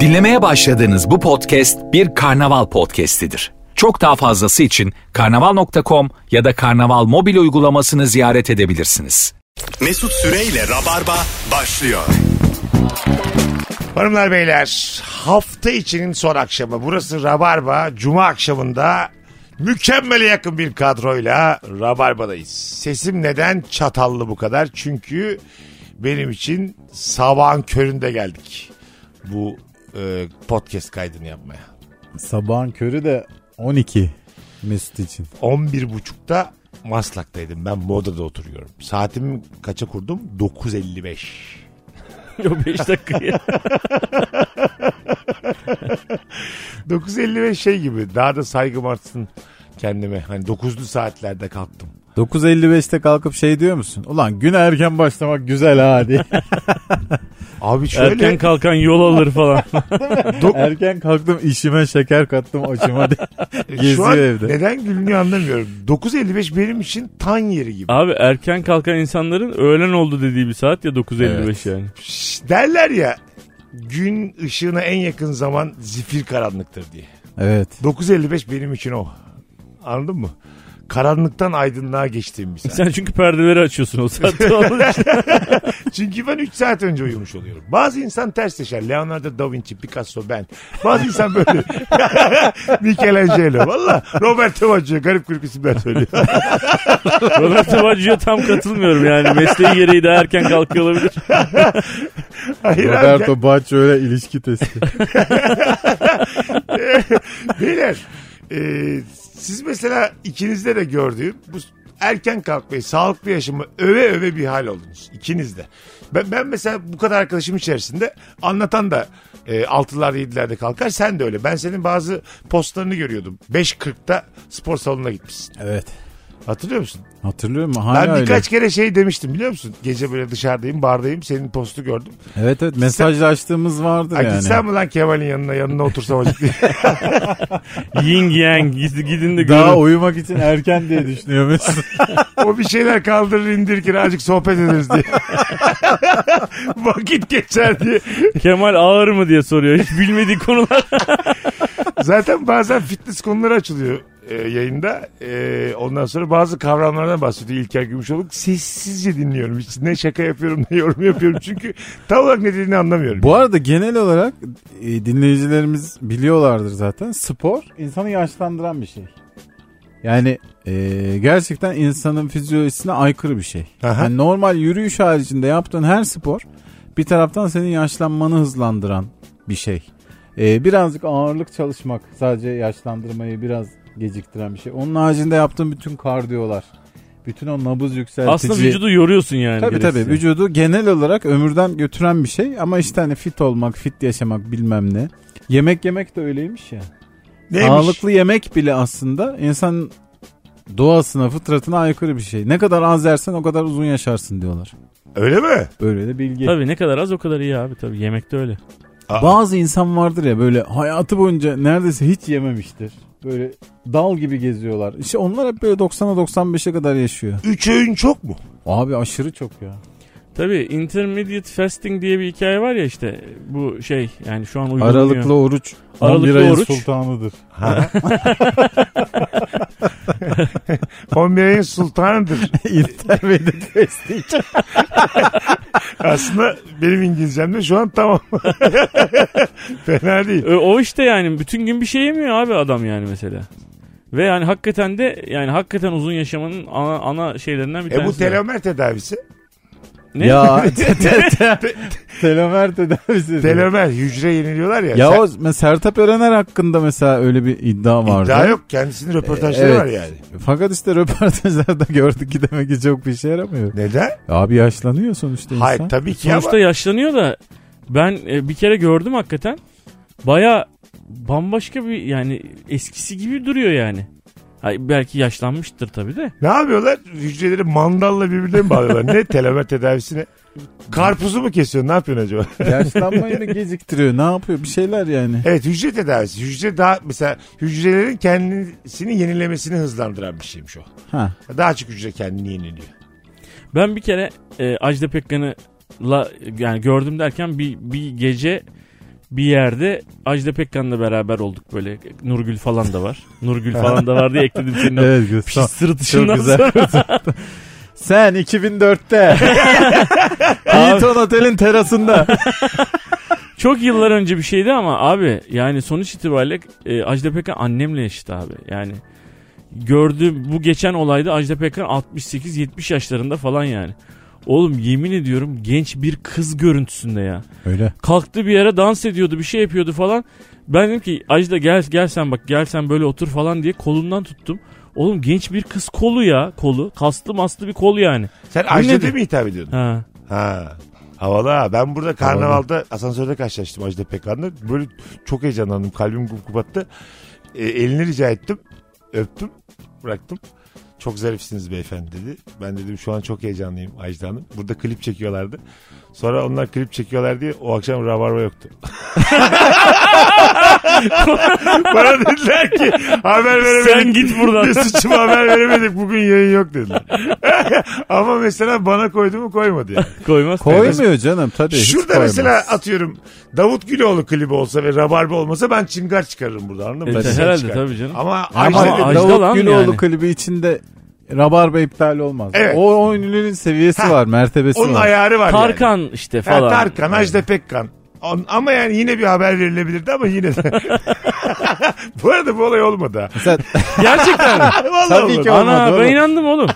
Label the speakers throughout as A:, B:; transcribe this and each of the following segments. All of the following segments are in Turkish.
A: Dinlemeye başladığınız bu podcast bir karnaval podcastidir. Çok daha fazlası için karnaval.com ya da karnaval mobil uygulamasını ziyaret edebilirsiniz.
B: Mesut Süreyle Rabarba başlıyor.
C: Hanımlar beyler hafta içinin son akşamı. Burası Rabarba. Cuma akşamında mükemmele yakın bir kadroyla Rabarba'dayız. Sesim neden çatallı bu kadar? Çünkü benim için sabahın köründe geldik bu e, podcast kaydını yapmaya.
D: Sabahın körü de 12 Mesut için.
C: 11.30'da Maslak'taydım. Ben Moda'da oturuyorum. Saatimi kaça kurdum? 9.55.
E: Yo 5 dakikaya.
C: 9.55 şey gibi daha da saygım artsın kendime. Hani 9'lu saatlerde kalktım.
D: 9.55'te kalkıp şey diyor musun? Ulan gün erken başlamak güzel ha diye.
C: Abi şöyle
E: Erken kalkan yol alır falan.
C: dok-
D: erken kalktım işime şeker kattım açıma diye.
C: şu an
D: Geziyor evde.
C: neden gülünüyor anlamıyorum. 9.55 benim için tan yeri gibi.
E: Abi erken kalkan insanların öğlen oldu dediği bir saat ya 9.55 yani.
C: Şş, Derler ya gün ışığına en yakın zaman zifir karanlıktır diye.
D: Evet.
C: 9.55 benim için o. Anladın mı? Karanlıktan aydınlığa geçtiğim bir saat.
E: Sen çünkü perdeleri açıyorsun o saatte. Onun için
C: Çünkü ben 3 saat önce uyumuş oluyorum. Bazı insan ters yaşar. Leonardo da Vinci, Picasso ben. Bazı insan böyle. Michelangelo. Valla Roberto Baggio. Garip garip isimler söylüyor.
E: Roberto Baggio tam katılmıyorum yani. Mesleği gereği de erken kalkıyor olabilir.
C: Hayır abi,
D: Roberto Baggio öyle ilişki testi.
C: Beyler e, siz mesela ikinizde de gördüğüm bu erken kalkmayı sağlıklı yaşamı öve öve bir hal oldunuz. İkiniz de. Ben, ben mesela bu kadar arkadaşım içerisinde anlatan da e, altılarda yedilerde kalkar sen de öyle. Ben senin bazı postlarını görüyordum. 5.40'ta spor salonuna gitmişsin.
D: evet.
C: Hatırlıyor musun?
D: Hatırlıyor musun? Hala
C: ben
D: öyle.
C: birkaç kere şey demiştim biliyor musun? Gece böyle dışarıdayım bardayım senin postu gördüm.
D: Evet evet mesajlaştığımız vardı
C: Ay
D: yani.
C: gitsem mi lan Kemal'in yanına yanına otursam acık diye.
E: Ying yang gid- gidin de
D: Daha
E: görün.
D: uyumak için erken diye düşünüyor Mesut.
C: O bir şeyler kaldırır indirirken azıcık sohbet ederiz diye. Vakit geçer diye.
E: Kemal ağır mı diye soruyor. Hiç bilmediği konular.
C: Zaten bazen fitness konuları açılıyor e, yayında. E, ondan sonra bazı kavramlardan bahsediyor İlker Gümüşoluk. Sessizce dinliyorum. Hiç ne şaka yapıyorum ne yorum yapıyorum. Çünkü tam olarak ne dediğini anlamıyorum.
D: Bu arada genel olarak e, dinleyicilerimiz biliyorlardır zaten. Spor insanı yaşlandıran bir şey. Yani e, gerçekten insanın fizyolojisine aykırı bir şey.
C: Aha.
D: Yani normal yürüyüş haricinde yaptığın her spor bir taraftan senin yaşlanmanı hızlandıran bir şey. E, birazcık ağırlık çalışmak sadece yaşlandırmayı biraz geciktiren bir şey. Onun haricinde yaptığın bütün kardiyolar, bütün o nabız yükseltici...
E: Aslında vücudu yoruyorsun yani.
D: Tabii
E: gereksiz.
D: tabii vücudu genel olarak ömürden götüren bir şey ama işte hani fit olmak, fit yaşamak bilmem ne. Yemek yemek de öyleymiş ya.
C: Neymiş?
D: Sağlıklı yemek bile aslında insan doğasına, fıtratına aykırı bir şey. Ne kadar az yersen o kadar uzun yaşarsın diyorlar.
C: Öyle mi?
D: Böyle de bilgi.
E: Tabii ne kadar az o kadar iyi abi tabii yemekte öyle.
D: Bazı insan vardır ya böyle hayatı boyunca neredeyse hiç yememiştir. Böyle dal gibi geziyorlar. İşte onlar hep böyle 90'a 95'e kadar yaşıyor.
C: Üç öğün çok mu?
D: Abi aşırı çok ya.
E: Tabii intermediate fasting diye bir hikaye var ya işte bu şey yani şu an uygulanıyor.
D: Aralıklı oruç.
E: Aralıklı
D: 11 ayın
E: oruç.
D: sultanıdır.
C: Kombinayın sultanıdır.
D: İntermediate fasting.
C: Aslında benim İngilizcem de şu an tamam. Fena değil.
E: E, o işte yani bütün gün bir şey yemiyor abi adam yani mesela. Ve yani hakikaten de yani hakikaten uzun yaşamanın ana, ana şeylerinden bir
C: E bu
E: tanesi. de.
C: telomer tedavisi.
E: Ne?
D: Ya te- te- te- telomer tedavisi.
C: Telomer hücre yeniliyorlar ya.
D: Ya
C: Sen-
D: o mesela Sertap Erener hakkında mesela öyle bir iddia vardı.
C: İddia yok. Kendisinin röportajları
D: Evet.
C: var yani.
D: Fakat işte röportajlarda gördük ki demek ki çok bir işe yaramıyor.
C: Neden?
D: Abi yaşlanıyor sonuçta insan.
C: Hayır tabii ki
E: Sonuçta
C: ama
E: yaşlanıyor da ben e, bir kere gördüm hakikaten. Baya bambaşka bir yani eskisi gibi duruyor yani. Hayır, belki yaşlanmıştır tabii de.
C: ne yapıyorlar? Hücreleri mandalla birbirine mi bağlıyorlar? ne telomer tedavisine? Karpuzu mu kesiyor? Ne yapıyorsun acaba?
D: Yaşlanmayı da geciktiriyor. Ne yapıyor? Bir şeyler yani.
C: evet hücre tedavisi. Hücre daha mesela hücrelerin kendisini yenilemesini hızlandıran bir şeymiş o.
D: Ha.
C: Daha çok hücre kendini yeniliyor.
E: Ben bir kere e, Ajda Pekkan'ı la yani gördüm derken bir bir gece bir yerde Ajda Pekkan'la beraber olduk böyle. Nurgül falan da var. Nurgül falan da var diye ekledim senin o
D: Evet Gülis,
E: pis
D: tamam.
E: sırıtışından
D: güzel.
E: sonra.
D: Sen 2004'te Hilton Otel'in terasında.
E: Çok yıllar önce bir şeydi ama abi yani sonuç itibariyle e, Ajda Pekkan annemle eşit abi. Yani gördüğüm bu geçen olayda Ajda Pekkan 68-70 yaşlarında falan yani. Oğlum yemin ediyorum genç bir kız görüntüsünde ya.
D: Öyle.
E: Kalktı bir yere dans ediyordu bir şey yapıyordu falan. Ben dedim ki Ajda gel gel sen bak gel sen böyle otur falan diye kolundan tuttum. Oğlum genç bir kız kolu ya kolu. Kaslı maslı bir kol yani.
C: Sen
E: nedir?
C: Ajda diye mi hitap ediyordun?
E: Ha.
C: Ha. Havalı ha. Ben burada karnavalda asansörde karşılaştım Ajda Pekkan'la. Böyle çok heyecanlandım. Kalbim kumkup attı. E, elini rica ettim. Öptüm. Bıraktım. Çok zarifsiniz beyefendi dedi. Ben dedim şu an çok heyecanlıyım Ajda Hanım. Burada klip çekiyorlardı. Sonra onlar klip çekiyorlar diye o akşam rabarba yoktu. Bana dediler ki haber veremedik.
E: Sen git buradan.
C: Mesut'cum haber veremedik bugün yayın yok dediler. Ama mesela bana koydu mu koymadı yani.
E: Koymaz.
D: Koymuyor canım tabii. hiç
C: Şurada
D: koymaz.
C: mesela atıyorum Davut Güloğlu klibi olsa ve Rabarba olmasa ben çıngar çıkarırım burada anladın mı?
E: Evet,
C: Ben
E: E, herhalde
C: çıkarırım.
E: tabii canım.
C: Ama,
D: Ama
C: Ajda dedi-
E: Ajda lan
D: Davut Güloğlu
E: yani.
D: klibi içinde Rabarba iptal olmaz.
C: Evet.
D: O oyunun seviyesi
C: Ha.
D: var, mertebesi
C: onun
D: var.
C: ayarı var yani.
E: Tarkan işte
C: Ha,
E: falan.
C: Tarkan, Ajda Pekkan. On- ama yani yine bir haber verilebilirdi ama yine de. bu arada bu olay olmadı ha.
D: Mesela
E: Gerçekten mi?
C: Vallahi
D: Tabii
C: olmadı.
D: ki
C: Ha,
E: Ana
D: Olmadı,
E: ben
D: olmadı.
E: inandım oğlum.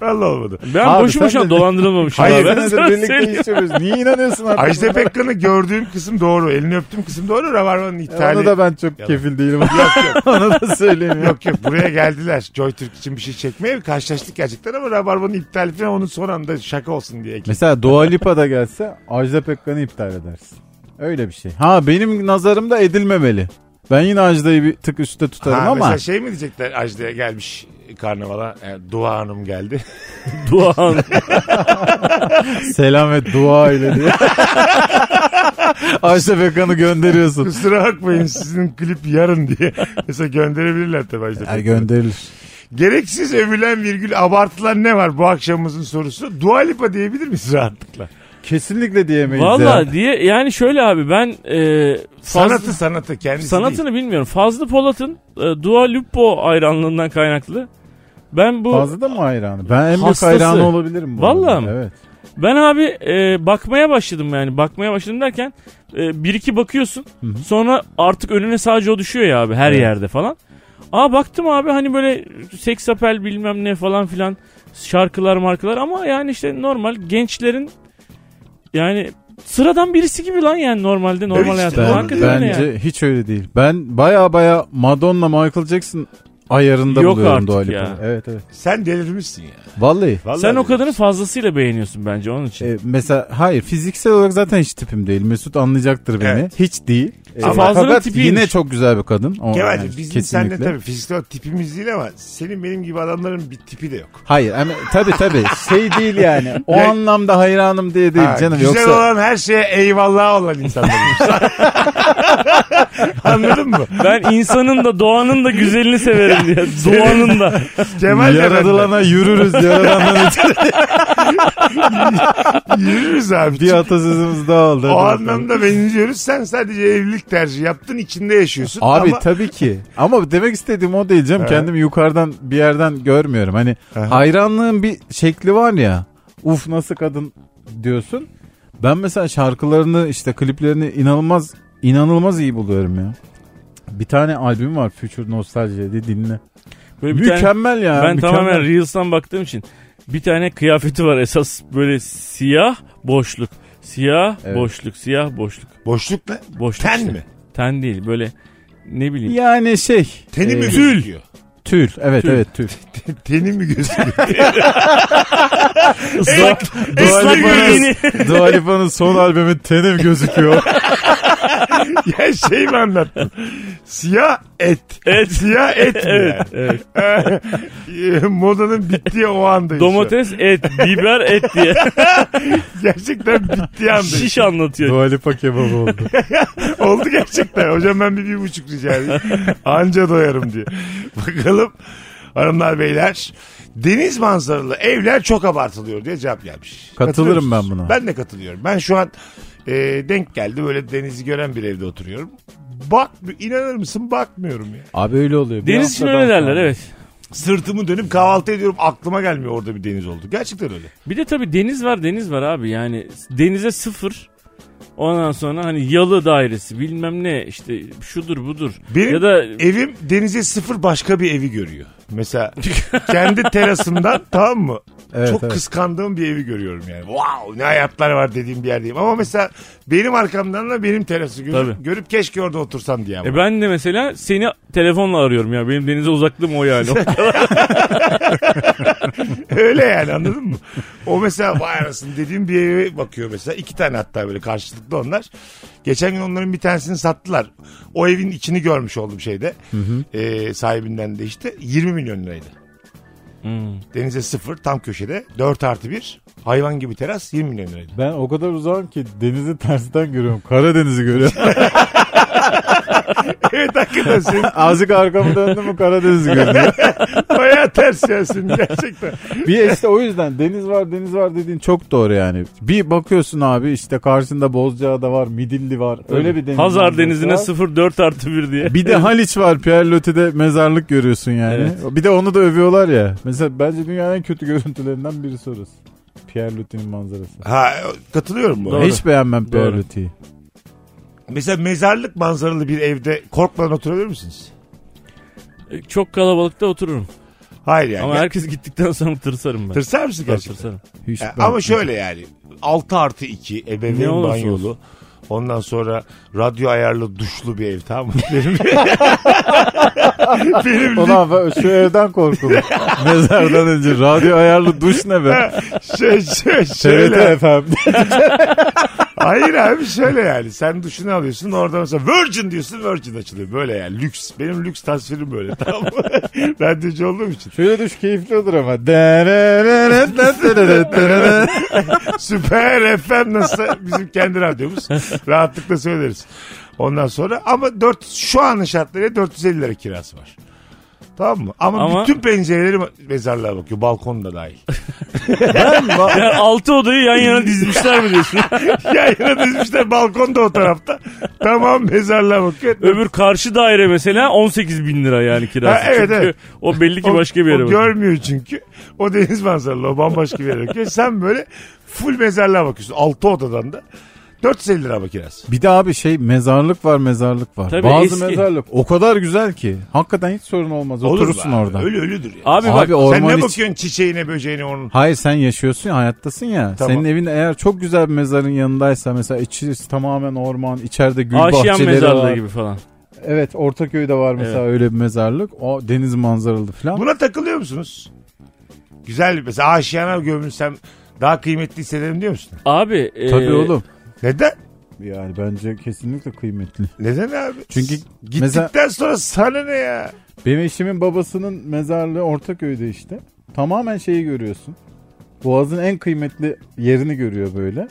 C: Vallahi olmadı.
E: Ben
D: Abi
E: boşu
D: sen
E: boşuna
D: de-
E: dolandırılmamışım.
D: hayır
E: ben
D: senedir
E: sana
D: birlikte
E: söyleyeyim.
D: içiyoruz. Niye inanıyorsun artık?
C: Ajda
D: buna?
C: Pekkan'ı gördüğüm kısım doğru. Elini öptüğüm kısım doğru. Rabarba'nın ithali.
D: E, Onu da ben çok
C: Yalan.
D: kefil değilim. Onu da söyleyeyim. ya.
C: Yok yok buraya geldiler. Joy Türk için bir şey çekmeye karşılaştık gerçekten ama Rabarba'nın iptali falan onun son anda şaka olsun diye. ekledim.
D: Mesela Dua Lipa da gelse Ajda Pekkan'ı iptal edersin. Öyle bir şey. Ha benim nazarımda edilmemeli. Ben yine Ajda'yı bir tık üstte tutarım
C: Ha,
D: ama
C: Mesela şey mi diyecekler Ajda'ya gelmiş karnavala. E, Dua Hanım geldi.
E: Doğan.
C: şey-
D: selam ve dua ile diye. Ajda Pekkan'ı gönderiyorsun.
C: Kusura bakmayın sizin klip yarın diye. Mesela gönderebilirler tabii Ajda.
D: Ya
C: Pekkan'ı.
D: gönderilir.
C: Gereksiz övülen virgül abartılan ne var bu akşamımızın sorusu? Dua Lipa diyebilir miyiz rahatlıkla?
D: Kesinlikle diyemeyiz ya.
E: Valla diye yani şöyle abi ben e, fazla,
C: Sanatı sanatı kendisi değil.
E: sanatını bilmiyorum. Fazlı Polat'ın e, Dua Lupo hayranlığından kaynaklı. Ben bu
D: Fazla da mı hayranı? Ben en büyük
E: Hastası.
D: hayranı olabilirim. bu
E: Vallahi
D: arada.
E: mi?
D: Evet.
E: ben abi e, bakmaya başladım yani bakmaya başladım derken e, bir iki bakıyorsun sonra artık önüne sadece o düşüyor ya abi her
D: Evet.
E: yerde falan. Aa baktım abi hani böyle seksapel bilmem ne falan filan şarkılar markalar ama yani işte normal gençlerin yani sıradan birisi gibi lan yani normalde normal
C: işte,
E: hayatta.
D: Ben,
E: Hakikaten öyle
D: bence
E: yani.
D: hiç öyle değil. Ben baya baya Madonna Michael Jackson ayarında
E: Yok
D: buluyorum
E: artık
D: Dua
E: ya.
D: Lipa'yı. Evet evet.
C: Sen delirmişsin ya.
D: Vallahi.
C: Vallahi
E: Sen o
C: delirmişsin.
E: kadını fazlasıyla beğeniyorsun bence onun için.
D: E, mesela hayır fiziksel olarak zaten hiç tipim değil. Mesut anlayacaktır beni.
C: Evet.
D: Hiç değil. E,
E: Ama
D: fakat
E: Fazlının tipiymiş.
D: yine çok güzel bir kadın. O,
C: Kemal'cim
D: yani
C: bizim
D: kesinlikle.
C: seninle tabii fiziksel olarak tipimiz değil ama senin benim gibi adamların bir tipi de yok.
D: Hayır ama tabii tabii şey değil yani. O
C: Ya-
D: anlamda hayranım diye değil
C: Ha,
D: canım
C: güzel
D: yoksa.
C: olan her şeye eyvallah olan insanlarız. Anladın mı?
E: Ben insanın da doğanın da güzelini severim diye. Doğanın da.
C: Kemal de benden.
D: Yaradılana yürürüz yaradandan içeri
C: Yürürüz abi.
D: diye atasözümüz daha oldu.
C: o
D: Hadi bakalım.
C: anlamda benziyoruz. Sen sadece evlilik tercihi yaptın. içinde yaşıyorsun.
D: Abi
C: ama
D: tabii ki. Ama demek istediğim o değil canım.
C: He.
D: Kendimi yukarıdan bir yerden görmüyorum. Hani
C: Aha.
D: hayranlığın bir şekli var ya. Uf nasıl kadın diyorsun. Ben mesela şarkılarını işte kliplerini inanılmaz inanılmaz iyi buluyorum ya. Bir tane albüm var Future Nostalji diye dinle.
E: Böyle bir tane-
D: mükemmel ya.
E: ben
D: mükemmel.
E: tamamen Reels'tan baktığım için bir tane kıyafeti var esas böyle siyah boşluk. Siyah
D: Evet.
E: boşluk, siyah boşluk.
C: boşluk ne?
E: Boşluk
C: Ten
E: işte.
C: mi?
E: Ten değil böyle ne bileyim.
D: yani şey.
C: Teni
D: e,
C: mi
D: tül?
C: gözüküyor?
D: Tül. Evet
E: Tül.
D: evet tül.
C: Teni mi gözüküyor?
E: Islak,
D: Dua
E: ıslak
D: Lipa'nın,
E: göbeğini.
D: Dua Lipa'nın son albümü tenim gözüküyor.
C: ya şey mi anlattın? Siyah et.
E: Et.
C: Siyah et mi
E: Evet, evet.
C: yani? Modanın bittiği o andayız.
E: Domates et, biber et diye
C: Gerçekten bittiği andayız.
E: şiş anlatıyor.
D: Dua Lipa kebabı oldu.
C: Oldu gerçekten. Hocam ben bir, bir buçuk rica edeyim. Anca doyarım diye. Bakalım hanımlar beyler Deniz manzaralı evler çok abartılıyor diye cevap gelmiş.
D: Katılırım
C: Katılıyor musunuz?
D: ben buna.
C: Ben de katılıyorum. Ben şu an e, denk geldi böyle denizi gören bir evde oturuyorum. Bak inanır mısın bakmıyorum ya.
D: Abi öyle oluyor. Bir
E: Deniz için
D: haftadan
E: öyle derler
D: sonra.
E: evet.
C: Sırtımı dönüp kahvaltı ediyorum aklıma gelmiyor orada bir deniz oldu. Gerçekten öyle.
E: Bir de tabii deniz var deniz var abi yani denize sıfır. Ondan sonra hani yalı dairesi bilmem ne işte şudur budur.
C: Benim e
E: ya da
C: evim denize sıfır başka bir evi görüyor. Mesela kendi terasından tamam mı?
D: Evet,
C: Çok
D: evet.
C: kıskandığım bir evi görüyorum yani. Wow ne hayatlar var dediğim bir yerdeyim. Ama mesela benim arkamdan da benim terası görüp,
E: Tabii.
C: görüp keşke orada otursam diye. ama.
E: e ben de mesela seni telefonla arıyorum ya benim denize uzaklığım o yani.
C: Öyle yani anladın mı? O mesela vay arasın dediğim bir eve bakıyor mesela. iki tane hatta böyle karşılıklı onlar. Geçen gün onların bir tanesini sattılar. O evin içini görmüş oldum şeyde. Ee, sahibinden de işte 20 milyon liraydı. Hmm. Denize sıfır tam köşede 4 artı 1 hayvan gibi teras 20 milyon liraydı.
D: Ben o kadar uzağım ki denizi tersten görüyorum. Karadeniz'i görüyorum.
C: evet hakikaten senin
D: Azıcık arkamı döndüm mü Karadeniz'i görüyorum.
C: bayağı ters ya senin gerçekten.
D: bir işte o yüzden deniz var deniz var dediğin çok doğru yani. Bir bakıyorsun abi işte karşında Bozcaada var, Midilli var. Öyle bir deniz.
E: Hazar
D: manzarası
E: denizine
D: var.
E: 0 4 artı 1 diye.
D: Bir de Haliç var. Pierre Loti'de mezarlık görüyorsun yani.
E: Evet.
D: Bir de onu da övüyorlar ya. Mesela bence dünyanın en kötü görüntülerinden birisi orası. Pierre Loti'nin manzarası.
C: Ha katılıyorum bu.
E: Doğru.
D: Hiç beğenmem Pierre
E: Doğru.
D: Loti'yi.
C: Mesela mezarlık manzaralı bir evde korkmadan oturabilir misiniz?
E: E, Çok kalabalıkta otururum.
C: Hayır yani.
E: Ama herkes gittikten sonra tırsarım ben.
C: Tırsar mısın
E: Ben
C: gerçekten?
E: Tırsarım.
D: Hiç
C: Ya, E,
D: beğenmem.
C: ama şöyle yani 6 artı 2
E: Ne
C: ebeveyn
E: olursa
C: banyolu.
E: olsun.
C: Ondan sonra radyo ayarlı duşlu bir ev tamam mı? Benim, benim
D: Ulan ben şu evden korkulur. Mezardan önce radyo ayarlı duş ne be?
C: şey, şey,
D: TRT
C: şöyle.
D: efendim.
C: Hayır abi şöyle yani. Sen duşunu alıyorsun oradan mesela Virgin diyorsun Virgin açılıyor. Böyle yani lüks. Benim lüks tasvirim böyle tamam mı? Radyocu olduğum için.
D: Şöyle duş keyifli olur ama. Derererererererererererererererererererererererererererererererererererererererererererererererererererererererererererererler.
C: Süper FM nasıl bizim kendi radyomuz. Rahatlıkla söyleriz. Ondan sonra ama 4 şu anın şartlarıyla 450 lira kirası var. Tamam mı? Ama,
E: Ama-
C: bütün pencereleri mezarlığa bakıyor. Balkon da dahil.
E: Yani 6 odayı yan yana dizmişler mi diyorsun?
C: Yayına dizmişler balkon da o tarafta. Tamam mezarlığa bakıyor.
E: Öbür karşı daire mesela 18 bin lira yani kirası.
C: Ha, evet,
E: Çünkü
C: evet.
E: O belli ki
C: O-
E: başka bir
C: o
E: yere bakıyor.
C: görmüyor çünkü. O deniz manzaralı o bambaşka bir yere bakıyor. Sen böyle full mezarlığa bakıyorsun. Altı odadan da. 450 lira bak kirası.
D: Bir de abi şey mezarlık var mezarlık var.
E: Tabii
D: Bazı
E: eski.
D: mezarlık o kadar güzel ki. Hakikaten hiç sorun olmaz.
C: Olur
D: Oturursun
C: be abi.
D: orada.
C: Ölü ölüdür ya.
E: Abi,
D: Abi
E: bak
D: orman
C: Sen ne
D: iç-
C: bakıyorsun çiçeğine böceğine onun?
D: Hayır sen yaşıyorsun ya hayattasın ya.
C: Tamam.
D: Senin evin eğer çok güzel bir mezarın yanındaysa mesela içi tamamen orman içeride gül
E: Aşiyan
D: bahçeleri var.
E: mezarlığı gibi falan.
D: Evet Ortaköy'de var mesela öyle bir mezarlık. O deniz manzaralı falan.
C: Buna takılıyor musunuz? Güzel bir mesela aşiyana gömülsem daha kıymetli hissederim diyor musun?
E: Abi e,
D: Tabii oğlum.
C: Neden?
D: Ee, Yani bence kesinlikle kıymetli.
C: Neden abi?
D: Çünkü
C: gittikten
D: meza-
C: sonra sana ne ya?
D: Benim eşimin babasının mezarlığı Ortaköy'de işte. Tamamen şeyi görüyorsun. Boğaz'ın en kıymetli yerini görüyor böyle.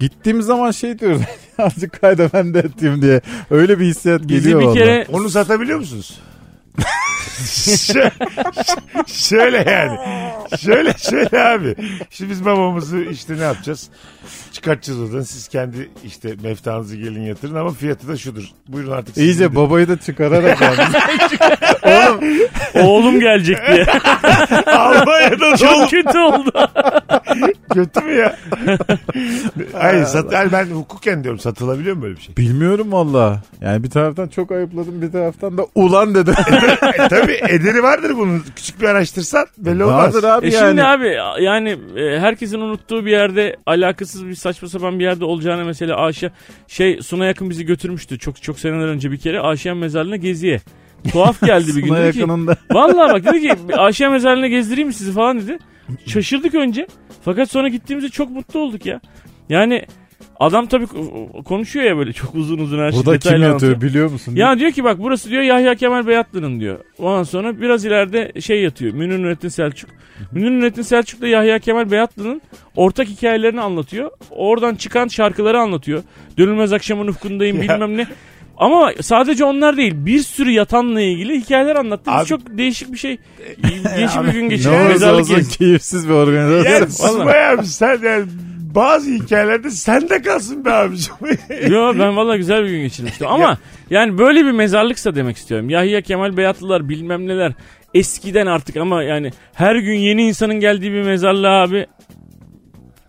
D: Gittiğimiz zaman şey diyoruz. Azıcık kayda ben de ettim diye. Öyle bir hissiyat
E: bizi
D: geliyor
E: bir
D: vallahi.
E: kere
C: Onu satabiliyor musunuz? Şö- ş- şöyle yani. Şöyle şöyle abi. Şimdi biz babamızı işte ne yapacağız? Çıkartacağız oradan. Siz kendi işte meftanızı gelin yatırın ama fiyatı da şudur. Buyurun artık. siz
D: İyice
C: gidin.
D: babayı da çıkararak yani.
E: oğlum gelecek diye.
C: Almanya'da
E: Çok kötü oldu.
C: Kötü mü ya? Hayır sat, hayır, ben hukuken diyorum satılabiliyor mu böyle bir şey?
D: Bilmiyorum valla. Yani bir taraftan çok ayıpladım bir taraftan da ulan dedim.
C: e, tabii ederi vardır bunun. Küçük bir araştırsan belli olmaz.
D: Vardır abi
E: E
D: yani.
E: şimdi abi yani e, herkesin unuttuğu bir yerde alakasız bir saçma sapan bir yerde olacağına mesela Aşiyan şey Suna yakın bizi götürmüştü çok çok seneler önce bir kere Aşiyan mezarlığına geziye. Tuhaf geldi bir gün.
D: Suna
E: Dedi ki,
D: yakınında.
E: Vallahi bak dedi ki Aşiyan mezarlığına gezdireyim mi sizi falan dedi. Şaşırdık önce. Fakat sonra gittiğimizde çok mutlu olduk ya. Yani adam tabii ko- konuşuyor ya böyle çok uzun uzun her şeyi
D: Burada kim
E: detaylı anlatıyor.
D: yatıyor biliyor musun?
E: Ya diyor ki bak burası diyor Yahya Kemal Beyatlı'nın diyor. Ondan sonra biraz ileride şey yatıyor. Münir Nurettin Selçuk. Münir Nurettin Selçuk da Yahya Kemal Beyatlı'nın ortak hikayelerini anlatıyor. Oradan çıkan şarkıları anlatıyor. Dönülmez akşamın ufkundayım
C: Ya.
E: bilmem ne. Ama sadece onlar değil bir sürü yatanla ilgili hikayeler anlattı. Biz
C: Abi-
E: çok değişik bir şey. Değişik bir gün
D: Ne
E: geçirdik.
D: olursa
E: Mezarlık
D: olsun
E: gezdik.
D: keyifsiz bir
C: Yani
D: organizasyon.
E: Vallahi.
C: Sumay abi sen yani bazı hikayelerde sende kalsın be abicim.
E: Yo ben valla güzel bir gün geçirmiştim ama yani böyle bir mezarlıksa demek istiyorum. Yahya Kemal Beyatlılar bilmem neler eskiden artık ama yani her gün yeni insanın geldiği bir mezarlığa abi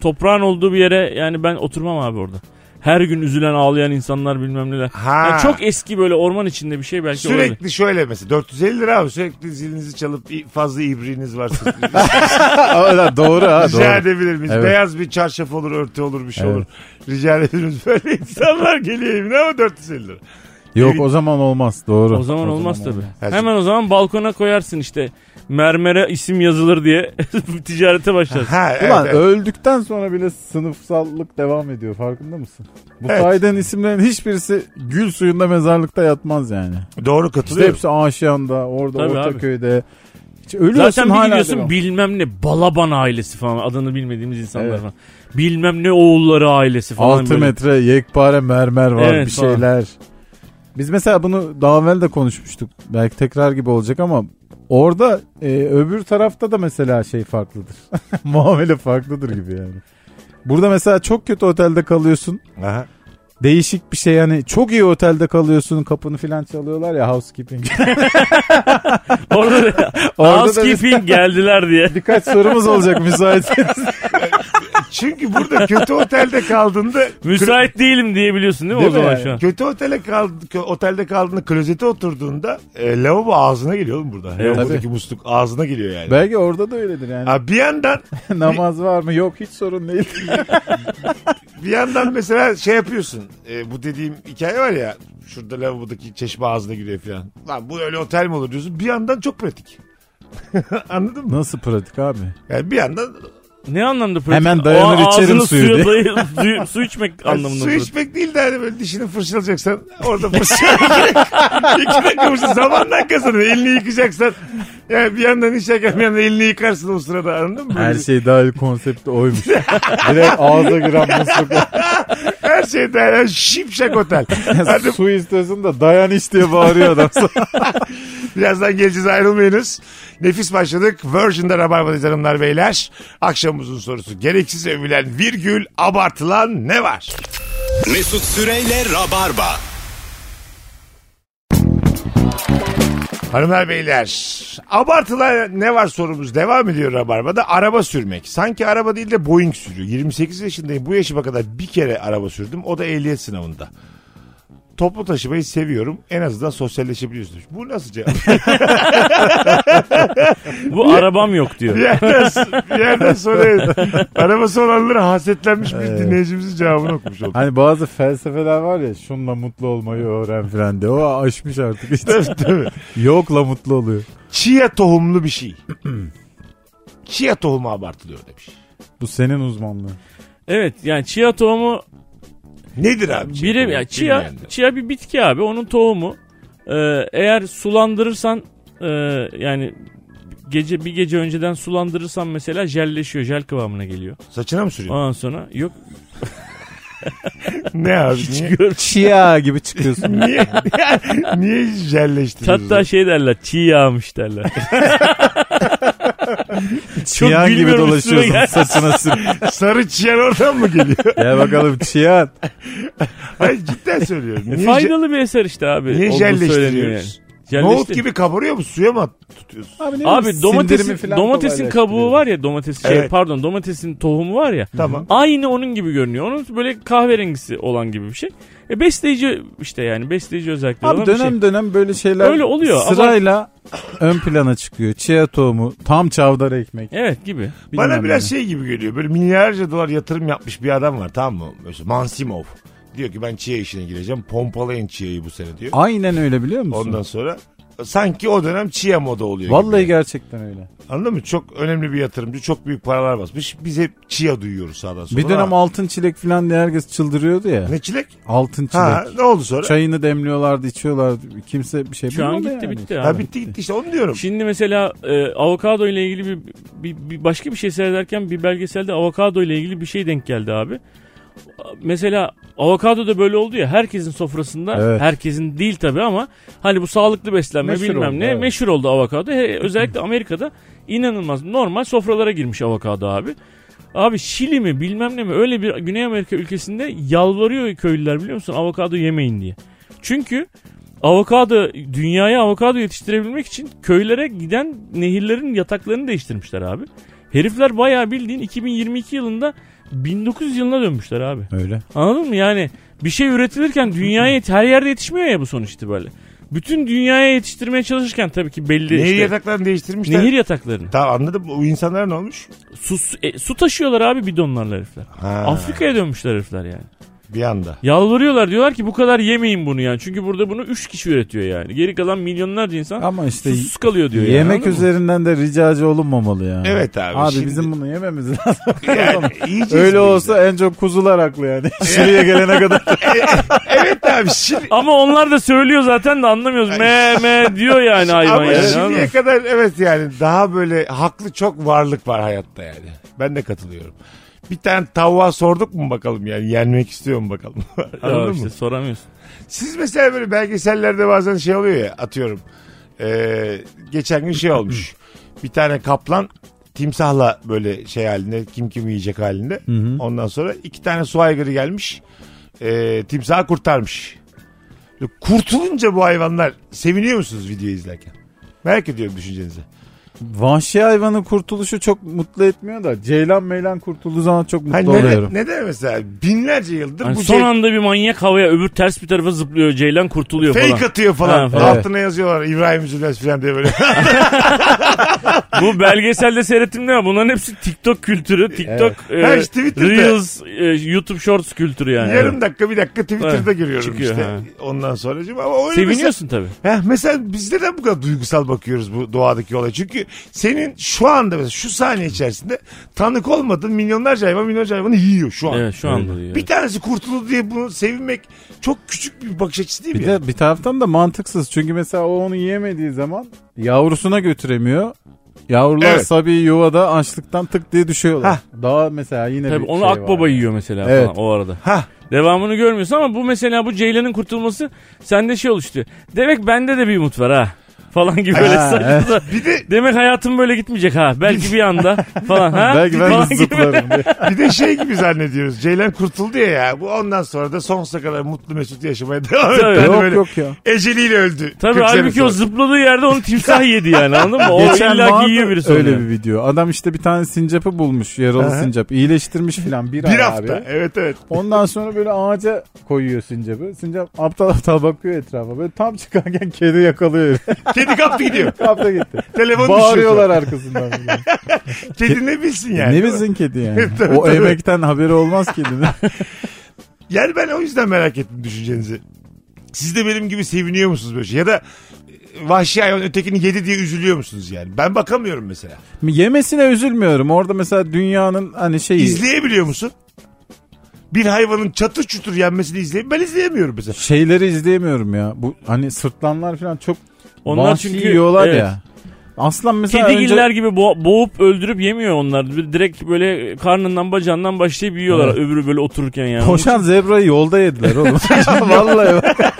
E: toprağın olduğu bir yere yani ben oturmam abi orada. Her gün üzülen ağlayan insanlar bilmem neler.
C: Ha.
E: Yani çok eski böyle orman içinde bir şey belki olabilir.
C: sürekli şöyle mesela 450 lira abi sürekli zilinizi çalıp i- fazla ibriğiniz varsa
D: Aa, doğru ha
C: rica
D: doğru.
C: edebilir miyiz?
D: Evet.
C: Beyaz bir çarşaf olur örtü olur bir şey
D: Evet.
C: olur. Rica edebiliriz. Böyle insanlar geliyor evine ama 450 lira.
D: Yok o zaman olmaz doğru.
E: O zaman olmaz tabi.
C: Her şey-
E: Hemen o zaman balkona koyarsın işte mermere isim yazılır diye ticarete başlarsın.
C: Ha, evet,
D: Ulan
C: evet.
D: öldükten sonra bile sınıfsallık devam ediyor farkında mısın? Bu
C: Evet.
D: sayeden isimlerin hiçbirisi gül suyunda mezarlıkta yatmaz yani.
C: Doğru
D: İşte
C: katılıyorum.
D: hepsi Aşiyan'da, orada
E: Tabii abi.
D: Ortaköy'de. Hiç ölüyorsun
E: Zaten bir
D: hala
E: gidiyorsun
D: devam.
E: bilmem ne Balaban ailesi falan adını bilmediğimiz insanlar
D: Evet.
E: falan. Bilmem ne oğulları ailesi falan.
D: 6
E: böyle.
D: metre yekpare mermer var
E: Evet,
D: bir
E: falan.
D: şeyler. Biz mesela bunu daha evvel de konuşmuştuk. Belki tekrar gibi olacak ama orada e, öbür tarafta da mesela şey farklıdır. Muamele farklıdır gibi yani. Burada mesela çok kötü otelde kalıyorsun.
C: Aha.
D: Değişik bir şey yani çok iyi otelde kalıyorsun kapını filan çalıyorlar ya housekeeping.
E: Orada da
D: Orada da
E: housekeeping geldiler diye.
D: Birkaç sorumuz olacak müsaitseniz.
C: Çünkü burada kötü otelde kaldığında
E: Müsait değilim diye biliyorsun değil mi
D: Değil
E: o zaman
D: mi?
E: şu an?
C: Kötü otele kaldı, kö- otelde kaldığında klozete oturduğunda e, lavabo ağzına geliyor oğlum burada.
D: Evet,
C: Lavabodaki
D: tabii.
C: musluk ağzına geliyor yani.
D: Belki orada da öyledir yani.
C: Ha, bir yandan
D: Namaz var mı? Yok hiç sorun değil.
C: bir yandan mesela şey yapıyorsun. E, bu dediğim hikaye var ya şurada lavabodaki çeşme ağzına giriyor falan. Lan bu öyle otel mi olur diyorsun. Bir yandan çok pratik. Anladın mı?
D: Nasıl pratik abi?
C: Yani bir yandan
E: Ne anlamda pratik?
D: Hemen dayanır
E: O
D: içerim
E: ağzını
D: suyu
E: suya
D: diye.
E: dayı- suyu- su içmek anlamında.
C: su
E: pratik.
C: içmek değil de hani böyle dişini fırçalayacaksan orada fırçalayacak. İki dakika fırça zamandan kazanır. Elini yıkayacaksan yani bir yandan işerken bir yandan elini yıkarsın o sırada anladın mı?
D: Her şey dahil konsepti oymuş. Direkt ağza giren musluk.
C: Her şey de yani şipşak otel. Hadi
D: Su istiyorsun da dayan iç diye bağırıyor adam.
C: birazdan geleceğiz ayrılmayınız. Nefis başladık. Virgin'de Rabarba'dayız hanımlar beyler. Akşamımızın sorusu. Gereksiz övülen virgül abartılan ne var?
B: Mesut Süreyle Rabarba.
C: Hanımlar beyler abartılan ne var sorumuz devam ediyor Rabarba'da. Araba sürmek. Sanki araba değil de Boeing sürüyor. 28 yaşındayım bu yaşıma kadar bir kere araba sürdüm o da ehliyet sınavında. Toplu taşımayı seviyorum. En azından sosyalleşebiliyorsunuz. Bu nasıl cevap?
E: Bu arabam yok diyor.
C: bir, yerden, bir yerden sonra arabası olanlara hasetlenmiş bir dinleyicimizin cevabını okumuş olduk.
D: Hani bazı felsefeler var ya şunla mutlu olmayı öğren filan diye. O aşmış artık işte.
C: Tabii, tabii.
D: Yokla mutlu oluyor.
C: Chia tohumlu bir şey. Chia tohumu abartılıyor demiş.
D: Bu senin uzmanlığın.
E: Evet yani chia tohumu
C: Nedir abi? chia
E: Biri
C: tohumu?
E: ya chia,
C: Bilmeyenler.
E: chia bir bitki abi. Onun tohumu e, eğer sulandırırsan e, yani gece bir gece önceden sulandırırsan mesela jelleşiyor. Jel kıvamına geliyor.
C: Saçına mı sürüyorsun?
E: Ondan sonra yok
C: Ne abi? Niye?
D: Çiya gibi çıkıyorsun.
C: Niye, niye jelleştiriyoruz?
E: hatta şey derler çiğ yağmış derler.
D: Çiyan gibi
E: gülmüyorum
D: dolaşıyorsun
E: üstüme
D: saçına sür.
C: Sarı çiyan oradan mı geliyor?
D: Gel bakalım çiyan.
C: Hayır cidden söylüyorum. Niye, je-
E: Faydalı bir eser işte abi.
C: niye
E: Olduğu söyleniyor yani.
C: jelleştiriyoruz? Nohut
E: Jelleştir-
C: gibi kabarıyor mu? Suya mı at- tutuyorsun?
D: Abi,
E: Abi domatesin, domatesin kabuğu var ya domatesin şey
C: Evet.
E: pardon domatesin tohumu var ya.
C: Tamam.
E: Aynı onun gibi görünüyor. Onun böyle kahverengisi olan gibi bir şey. E besleyici işte yani besleyici özellikleri
D: Abi
E: olan bir
D: dönem
E: şey.
D: dönem böyle şeyler
E: Öyle oluyor ama-
D: sırayla ön plana çıkıyor. Çiğ tohumu, tam çavdar ekmek.
E: Evet gibi.
D: bilmem
C: Bana biraz
D: ne.
C: şey gibi geliyor. Böyle milyarca dolar yatırım yapmış bir adam var tamam mı? Mesela Mansimov. Diyor ki ben çiğe işine gireceğim. Pompalayın çiğeyi bu sene diyor.
D: Aynen öyle biliyor musun?
C: Ondan sonra sanki o dönem çiğe moda oluyor.
D: Vallahi
C: gibi.
D: gerçekten öyle.
C: Anladın mı? Çok önemli bir yatırımcı. Çok büyük paralar basmış. Biz hep çiğe duyuyoruz sağdan sola.
D: Bir dönem
C: Ama
D: altın çilek falan diye herkes çıldırıyordu ya.
C: Ne çilek?
D: Altın çilek.
C: Ha, ne oldu sonra?
D: Çayını demliyorlardı, içiyorlardı. Kimse bir şey
E: Şu an
D: bilmiyordu
E: gitti
D: yani.
E: bitti
C: ha
E: abi.
C: bitti gitti işte onu diyorum.
E: Şimdi mesela e, avokado ile ilgili bir, bir, bir başka bir şey seyrederken bir belgeselde avokado ile ilgili bir şey denk geldi abi. mesela avokado da böyle oldu ya herkesin sofrasında
D: Evet.
E: herkesin değil tabi ama hani bu sağlıklı beslenme
D: Meşhur
E: bilmem
D: oldu,
E: ne
D: evet.
E: meşhur oldu avokado. He, özellikle Amerika'da inanılmaz normal sofralara girmiş avokado abi. Abi Şili mi bilmem ne mi öyle bir Güney Amerika ülkesinde yalvarıyor köylüler biliyor musun avokado yemeyin diye. Çünkü avokado dünyaya avokado yetiştirebilmek için köylere giden nehirlerin yataklarını değiştirmişler abi. Herifler bayağı bildiğin 2022 yılında 1900 yılına dönmüşler abi.
D: Öyle.
E: Anladın mı? Yani bir şey üretilirken dünyaya yet- her yerde yetişmiyor ya bu sonuç itibariyle. Bütün dünyaya yetiştirmeye çalışırken tabii ki belli
C: Nehir
E: işte-
C: yataklarını değiştirmişler.
E: nehir yataklarını.
C: Tamam anladım. O insanlara ne olmuş?
E: Su, su- e, su taşıyorlar abi bidonlarla herifler.
C: Ha,
E: Afrika'ya dönmüşler herifler yani.
C: Bir anda.
E: Yalvarıyorlar diyorlar ki bu kadar yemeyin bunu yani. Çünkü burada bunu 3 kişi üretiyor yani. Geri kalan milyonlarca insan
D: Ama işte
E: susuz kalıyor diyor yani,
D: yemek
E: anladın mı?
D: üzerinden de ricacı olunmamalı yani.
C: Evet abi,
D: Abi
C: şimdi-
D: bizim bunu yememiz lazım.
C: Yani, yiyeceğiz biz de.
D: Öyle olsa en çok kuzular haklı yani. Şuraya gelene kadar.
C: Evet abi şimdi.
E: Ama onlar da söylüyor zaten de anlamıyoruz. Me me diyor yani hayvan
C: Ama
E: yani. anladın mı?
C: şimdiye kadar evet yani daha böyle haklı çok varlık var hayatta yani. Ben de katılıyorum. Bir tane tavuğa sorduk mu bakalım yani yenmek istiyor mu bakalım.
E: Ya
C: Anladın
E: işte
C: mı?
E: soramıyorsun.
C: Siz mesela böyle belgesellerde bazen şey oluyor ya atıyorum. Ee, geçen gün şey olmuş. Bir tane kaplan timsahla böyle şey halinde kim kim yiyecek halinde. Ondan sonra iki tane su aygırı gelmiş. Ee, timsahı kurtarmış. Böyle Kurtulunca bu hayvanlar seviniyor musunuz videoyu izlerken? Merak ediyorum düşüncenizi.
D: Vahşi hayvanın kurtuluşu çok mutlu etmiyor da ceylan meylan kurtulduğu zaman çok mutlu
C: Hani
D: oluyorum.
C: neden, neden mesela binlerce yıldır
E: Hani
C: bu
E: son
C: şey
E: anda bir manyak havaya öbür ters bir tarafa zıplıyor Ceylan kurtuluyor
C: fake
E: falan.
C: atıyor falan.
E: Ha, falan.
C: Altına yazıyorlar İbrahim Üzülmez falan diye böyle.
E: Bu belgeselde seyrettim değil mi? Bunların hepsi TikTok kültürü. TikTok,
C: Ha,
E: e,
C: işte Twitter'da.
E: Reels, e, YouTube Shorts kültürü yani.
C: Yarım dakika bir dakika Twitter'da
E: Evet,
C: görüyorum
E: çıkıyor,
C: işte.
E: ha.
C: Ondan sonra ama öyle
E: Seviniyorsun tabii.
C: Mesela, heh, mesela biz neden bu kadar duygusal bakıyoruz bu doğadaki olaya? Çünkü senin şu anda mesela şu saniye içerisinde tanık olmadığın milyonlarca hayvan milyonlarca hayvanı yiyor şu an.
E: Evet şu anda diyor.
C: Bir tanesi kurtuldu diye bunu sevinmek çok küçük bir bakış açısı değil mi?
D: Bir
C: ya?
D: de bir taraftan da mantıksız. Çünkü mesela o onu yiyemediği zaman yavrusuna götüremiyor. Yavrular
C: Evet.
D: sabi yuvada açlıktan tık diye düşüyorlar.
C: Hah.
D: Daha mesela yine
E: Tabii
D: bir
E: onu
D: şey
E: akbaba
D: var.
E: yiyor mesela
D: Evet.
E: falan o arada.
C: Hah.
E: Devamını görmüyorsun ama bu mesela bu Ceylan'ın kurtulması sende şey oluştu. Demek bende de bir umut var ha falan gibi böyle
D: Ha,
E: saçma
D: evet.
E: sapan.
C: Bir de
E: Demek hayatım böyle gitmeyecek ha. Belki bir anda falan ha.
D: Belki ben
E: falan
D: de
E: gibi.
D: zıplarım diye.
C: bir de şey gibi zannediyoruz. Ceylan kurtuldu ya ya. Bu ondan sonra da sonsuza kadar mutlu mesut yaşamaya devam etti.
E: Tabii.
C: Hani
D: yok
C: böyle
D: yok ya.
C: Eceliyle öldü.
E: Tabii
C: 40 sene
E: halbuki o
C: sonra.
E: zıpladığı yerde onu timsah yedi yani anladın mı? O
D: Geçen
E: illa
D: vardı
E: giyiyor birisi onu
D: öyle
E: yani.
D: bir video. Adam işte bir tane sincapı bulmuş. Yaralı
C: Aha.
D: sincap. İyileştirmiş filan bir,
C: Bir
D: ay
C: hafta.
D: abi.
C: Evet evet.
D: Ondan sonra böyle ağaca koyuyor sincapı. Sincap aptal aptal bakıyor etrafa. Böyle tam çıkarken kedi yakalıyor.
C: Kedi kaptı gidiyor.
D: Kapta gitti.
C: Telefon
D: Bağırıyorlar arkasından.
C: düşüyor. Kedi ne bilsin yani.
D: E, ne bilsin kedi yani?
C: Tabii,
D: o
C: tabii.
D: emekten haberi olmaz kedinin.
C: Yani ben o yüzden merak ettim düşüncenizi. Siz de benim gibi seviniyor musunuz böyle şey? Ya da e, vahşi hayvan ötekini yedi diye üzülüyor musunuz yani? Ben bakamıyorum mesela.
D: Yemesine üzülmüyorum. Orada mesela dünyanın hani şeyi.
C: İzleyebiliyor musun? Bir hayvanın çatır çutur yenmesini izleyeyim. Ben izleyemiyorum mesela.
D: şeyleri izleyemiyorum ya. Bu hani sırtlanlar falan çok
E: Onlar
D: Onlar çünkü
E: çünkü-
D: yiyorlar
E: evet.
D: ya. Aslan mesela
E: Kedigiller
D: önce
E: gibi bo- boğup öldürüp yemiyor onlar. Bir- Direkt böyle karnından bacağından başlayıp yiyorlar
D: Evet.
E: öbürü böyle otururken yani.
D: koşan zebrayı yolda yediler oğlum. Vallahi bak.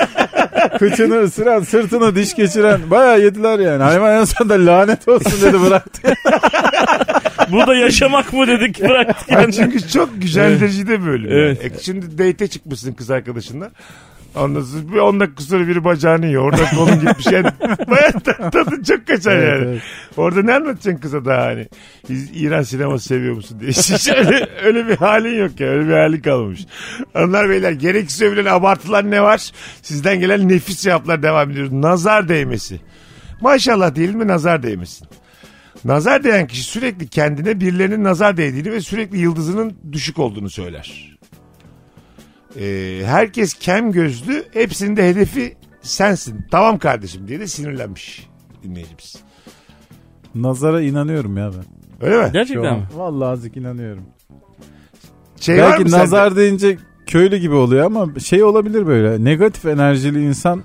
D: Kıçını ısıran, sırtına diş geçiren bayağı yediler yani. Hayvan en sonunda lanet olsun dedi bıraktı.
E: Bu da yaşamak mı dedik bıraktık
C: Yani
E: yani.
C: çünkü çok güzel derecede böyle.
E: Evet.
C: E şimdi date çıkmışsın kız arkadaşınla. Ondan sonra bir 10 dakika sonra biri bacağını yiyor. Orada kolun gitmiş. Yani baya ta- tadın çok kaçar
D: Evet,
C: yani.
D: evet.
C: Orada ne anlatacaksın kıza daha hani? Biz İran sineması seviyor musun diye. Hiç öyle, öyle bir halin yok ya. Öyle bir halin kalmamış. Onlar beyler gereksiz övülen abartılan ne var? Sizden gelen nefis cevaplar devam ediyor. Nazar değmesi. Maşallah değil mi nazar değmesin. Nazar değen kişi sürekli kendine birilerinin nazar değdiğini ve sürekli yıldızının düşük olduğunu söyler. Ee, herkes kem gözlü, hepsinin de hedefi sensin. Tamam kardeşim diye de sinirlenmiş dinleyicimiz.
D: Nazara inanıyorum ya ben.
C: Öyle mi?
E: Gerçekten mi?
D: Vallahi azıcık inanıyorum.
C: Şey var mı
D: Belki
C: sende?
D: nazar deyince köylü gibi oluyor ama şey olabilir böyle. Negatif enerjili insan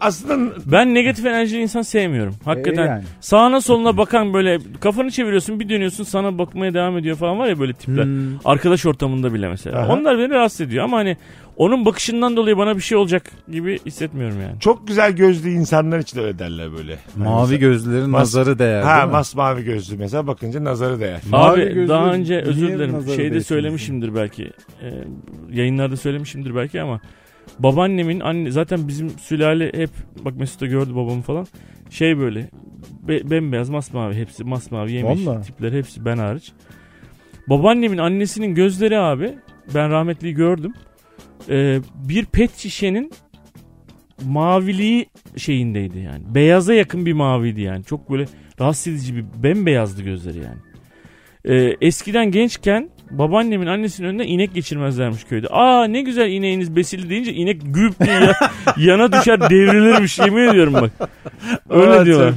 C: aslında
E: Ben negatif enerjili insan sevmiyorum. Hakikaten.
D: Ee, yani.
E: Sağına soluna bakan böyle kafanı çeviriyorsun bir dönüyorsun sana bakmaya devam ediyor falan var ya böyle tipler.
D: Hmm.
E: Arkadaş ortamında bile mesela.
C: Aha.
E: Onlar beni rahatsız ediyor ama hani onun bakışından dolayı bana bir şey olacak gibi hissetmiyorum yani.
C: çok güzel gözlü insanlar için öyle derler böyle.
D: Mavi gözlerin
C: Mas-
D: nazarı değer.
C: Ha
D: değil mi?
C: masmavi gözlü mesela bakınca nazarı değer.
D: Mavi
E: Abi
D: gözlü
E: daha önce
D: niye
E: özür dilerim
D: nazarı
E: şeyde
D: değsin
E: söylemişimdir belki. Ee, yayınlarda söylemişimdir belki ama babaannemin anne zaten bizim sülale hep bak Mesut da gördü babamı falan. Şey böyle be- bembeyaz masmavi hepsi masmavi yemiş
D: Vallahi.
E: tipler hepsi ben hariç. Babaannemin annesinin gözleri abi ben rahmetliyi gördüm. Ee, bir pet şişenin maviliği şeyindeydi yani. Beyaza yakın bir maviydi yani. Çok böyle rahatsız edici bir bembeyazdı gözleri yani. Ee, eskiden gençken babaannemin annesinin önüne inek geçirmezlermiş köyde. Aa ne güzel ineğiniz besili deyince inek güp diye ya- yana düşer devrilirmiş yemin ediyorum bak. Öyle
D: Aa,
E: diyorlar.
D: çok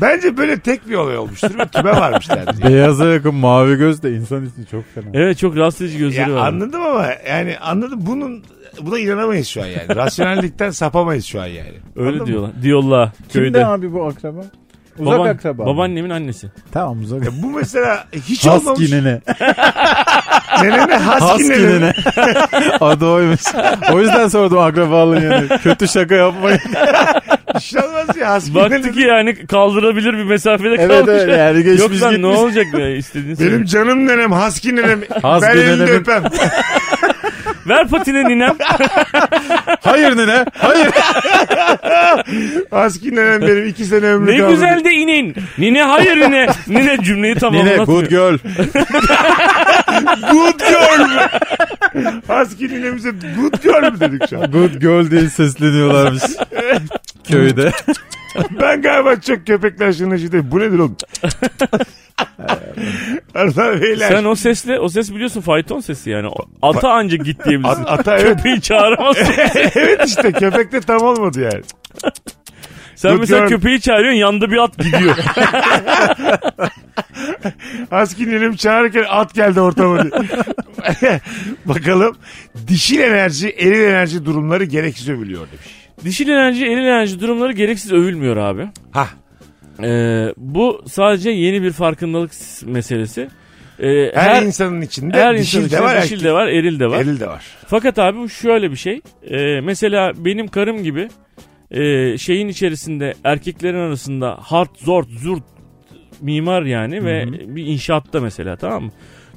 C: Bence böyle tek bir olay olmuştur ve tüme varmışlar diye.
D: Beyaza yakın mavi göz de insan için çok fena.
E: Evet çok rahatsız edici gözleri
C: Ya
E: var.
C: anladım ama yani anladım bunun buna inanamayız şu an yani. Rasyonellikten sapamayız şu an yani.
E: Öyle
C: Anladın mı?
E: diyorlar. Diyorlar
D: Kimde
E: köyde.
D: abi bu akraba? Uzak
E: Baban-
D: akraba. mı? E,
E: Babaannemin annesi.
D: Tamam uzak.
C: Ya bu mesela hiç olmamış.
D: Husky nene.
C: Nenene Husky
D: Husky
C: nene.
D: nene. Adı oymuş. O yüzden sordum akrabalığın yani. Kötü şaka yapmayın.
C: Hiç olmaz ya Husky nene.
E: Baktı ki yani kaldırabilir bir mesafede
D: evet
E: kalmış.
D: öyle yani geçmiş
E: Yok lan ne
D: gitmiş.
E: olacak be istediğin
C: Benim
E: söyle.
C: canım nenem Husky nenem. ben elini
D: nenemin-
C: öpem.
E: Ver patine ninem.
D: Hayır nene. Hayır.
C: Husky nenem benim iki sene ömrü
E: Ne
C: kaldı.
E: güzel de inin. Nine hayır nine. Nine cümleyi
D: nene
E: tamamlatmıyor.
D: good girl.
C: Good girl mü? Husky ninemize good girl mü dedik şu an?
D: Good girl diye sesleniyorlarmış. Köyde.
C: Ben galiba çok köpekler şınlaşı değil. Bu nedir oğlum? Arda beyler.
E: Sen o sesle, o ses biliyorsun fayton sesi yani. O- Ata anca git diyebilirsin.
C: At- ata evet.
E: Köpeği çağıramazsın.
C: evet işte köpek de tam olmadı yani.
E: Sen
C: Yok
E: mesela
C: yani.
E: köpeği çağırıyorsun yanda bir at gidiyor.
C: Husky nenem çağırırken at geldi ortama diye. Bakalım dişil enerji, eril enerji durumları gereksiz övülüyor demiş.
E: Dişil enerji, eril enerji durumları gereksiz övülmüyor abi.
C: Hah.
E: Ee, bu sadece yeni bir farkındalık s- meselesi. Ee,
C: Her,
E: her
C: insanın içinde
E: her
C: dişil
E: insanın
C: de var,
E: içinde dişil de var, eril de var.
C: eril de var.
E: Fakat abi bu şöyle bir şey. Ee, mesela benim karım gibi e, şeyin içerisinde erkeklerin arasında hart, zort, zurt mimar yani ve bir inşaatta mesela tamam mı?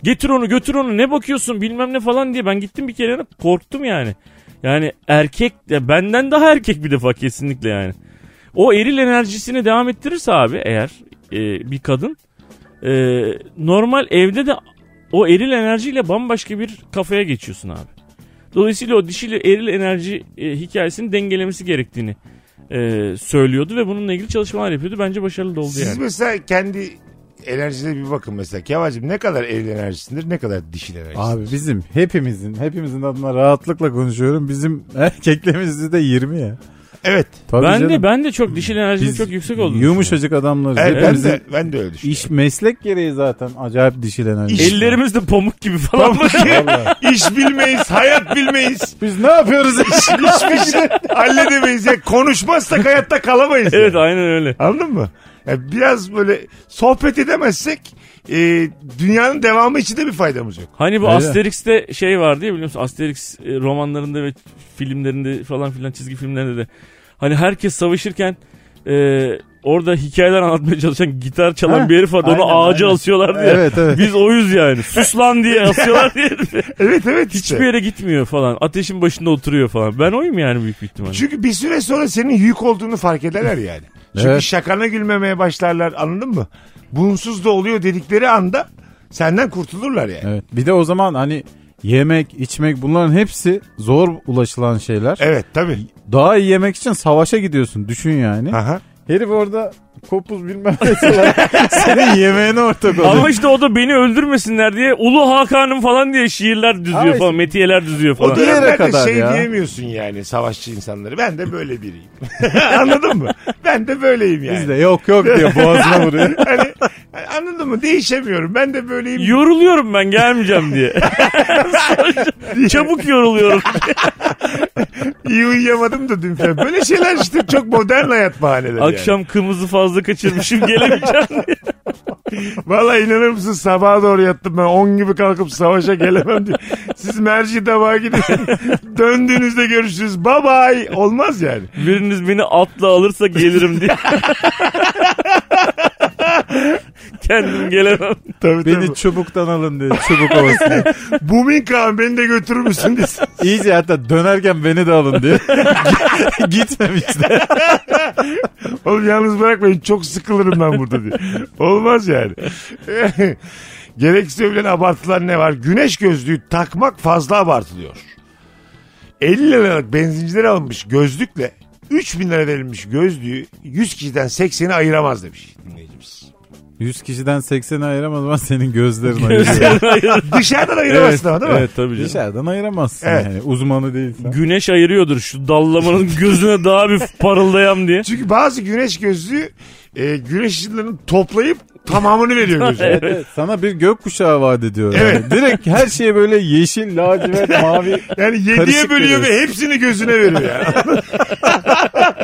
E: Getir onu götür onu ne bakıyorsun bilmem ne falan diye ben gittim bir kere korktum yani. Yani erkek ya benden daha erkek bir defa kesinlikle yani. O eril enerjisini devam ettirirse abi eğer e, bir kadın e, normal evde de o eril enerjiyle bambaşka bir kafaya geçiyorsun abi. Dolayısıyla o dişiyle eril enerji e, hikayesini dengelemesi gerektiğini e, söylüyordu ve bununla ilgili çalışmalar yapıyordu. Bence başarılı da oldu
C: Siz
E: yani.
C: mesela kendi enerjinize bir bakın mesela. Kemal'cim ne kadar eril enerjisindir ne kadar dişil enerjisindir.
D: Abi bizim hepimizin hepimizin adına rahatlıkla konuşuyorum. Bizim erkeklerimiz de 20 ya.
C: Evet.
D: Tabii
E: ben
D: canım.
E: de ben de çok dişil enerjim
D: Biz
E: çok yüksek oldu.
D: Yumuşacık adamlarız.
C: Evet, ben,
D: Hepimizin
C: de, ben de öyle düşünüyorum.
D: iş meslek gereği zaten acayip dişil enerji.
C: İş-
E: Ellerimiz de pamuk gibi falan.
D: Vallahi.
C: İş bilmeyiz, hayat bilmeyiz.
D: Biz ne yapıyoruz iş?
C: Hiçbir şey halledemeyiz. Ya konuşmazsak hayatta kalamayız.
E: evet
C: yani.
E: aynen öyle.
C: Anladın mı? Ya biraz böyle sohbet edemezsek e, dünyanın devamı için de bir faydamız yok.
E: Hani bu
D: Öyle.
E: Asterix'te şey vardı ya biliyor musun? Asterix e, romanlarında ve filmlerinde falan filan çizgi filmlerinde de. Hani herkes savaşırken e, orada hikayeler anlatmaya çalışan gitar çalan
D: Ha,
E: bir herif vardı. Onu
D: aynen,
E: ağaca
D: aynen.
E: asıyorlardı ya.
D: Evet, evet.
E: Biz oyuz yani. Sus lan diye asıyorlar diye.
C: Evet evet işte.
E: Hiçbir yere gitmiyor falan. Ateşin başında oturuyor falan. Ben oyum yani büyük bir ihtimalle.
C: Çünkü bir süre sonra senin yük olduğunu fark ederler yani. Çünkü
D: Evet.
C: şakana gülmemeye başlarlar anladın mı? Bunsuz da oluyor dedikleri anda senden kurtulurlar yani.
D: Evet. Bir de o zaman hani yemek, içmek bunların hepsi zor ulaşılan şeyler.
C: Evet tabii.
D: Daha iyi yemek için savaşa gidiyorsun. Düşün yani.
C: Aha.
D: Herif orada kopuz bilmem nesi var. Senin yemeğine ortak oluyor.
E: Ama işte o da beni öldürmesinler diye Ulu Hakan'ım falan diye şiirler düzüyor
D: Abi-
E: falan, metiyeler düzüyor falan.
C: O
D: Bir yere
C: dönemlerde
D: kadar
C: şey
D: ya.
C: diyemiyorsun yani savaşçı insanları. Ben de böyle biriyim. Anladın mı? Ben de böyleyim yani.
D: Biz de yok yok diye boğazına vuruyor.
C: Hani, anladın mı? Değişemiyorum. Ben de böyleyim.
E: Yoruluyorum ben gelmeyeceğim diye. Çabuk yoruluyorum.
C: İyi uyuyamadım da dün falan. Böyle şeyler işte çok modern hayat bahaneleri yani.
E: Akşam kımızı fazla kaçırmışım gelemeyeceğim.
C: Valla inanır mısın sabaha doğru yattım ben 10 gibi kalkıp savaşa gelemem diye. Siz merci tabağa gidin. Döndüğünüzde görüşürüz. Bye bye. Olmaz yani.
E: Biriniz beni atla alırsa gelirim diye. Kendim gelemem.
C: Tabii
D: Beni
C: tabii.
D: çubuktan alın diye çubuk olsun.
C: Bumin Kağan beni de götürür müsün diye.
D: İyice hatta dönerken beni de alın diye. Gitmemişler.
C: Oğlum yalnız bırakmayın çok sıkılırım ben burada diye. Olmaz yani. Gerekirse övülen abartılar ne var? Güneş gözlüğü takmak fazla abartılıyor. 50 liralık benzincilere alınmış gözlükle 3000 lira verilmiş gözlüğü 100 kişiden 80'i ayıramaz demiş dinleyicimiz.
D: 100 kişiden 80'i ayıramaz ama senin gözlerin ayırıyor.
C: Dışarıdan ayıramazsın ama değil mi?
E: evet tabii canım.
D: Dışarıdan ayıramazsın
C: Evet.
D: yani. Uzmanı değilsen.
E: Güneş ayırıyordur şu dallamanın gözüne daha bir parıldayam diye.
C: Çünkü bazı güneş gözlüğü e, güneş ışınlarını toplayıp tamamını veriyor gözlüğe.
E: Evet.
D: Evet, sana bir gökkuşağı vaat ediyor. yani.
C: Evet.
D: Direkt her şeye böyle yeşil, lacivert, mavi.
C: Yani yediye
D: Karışık
C: bölüyor ve
D: veriyorsun.
C: hepsini gözüne veriyor yani.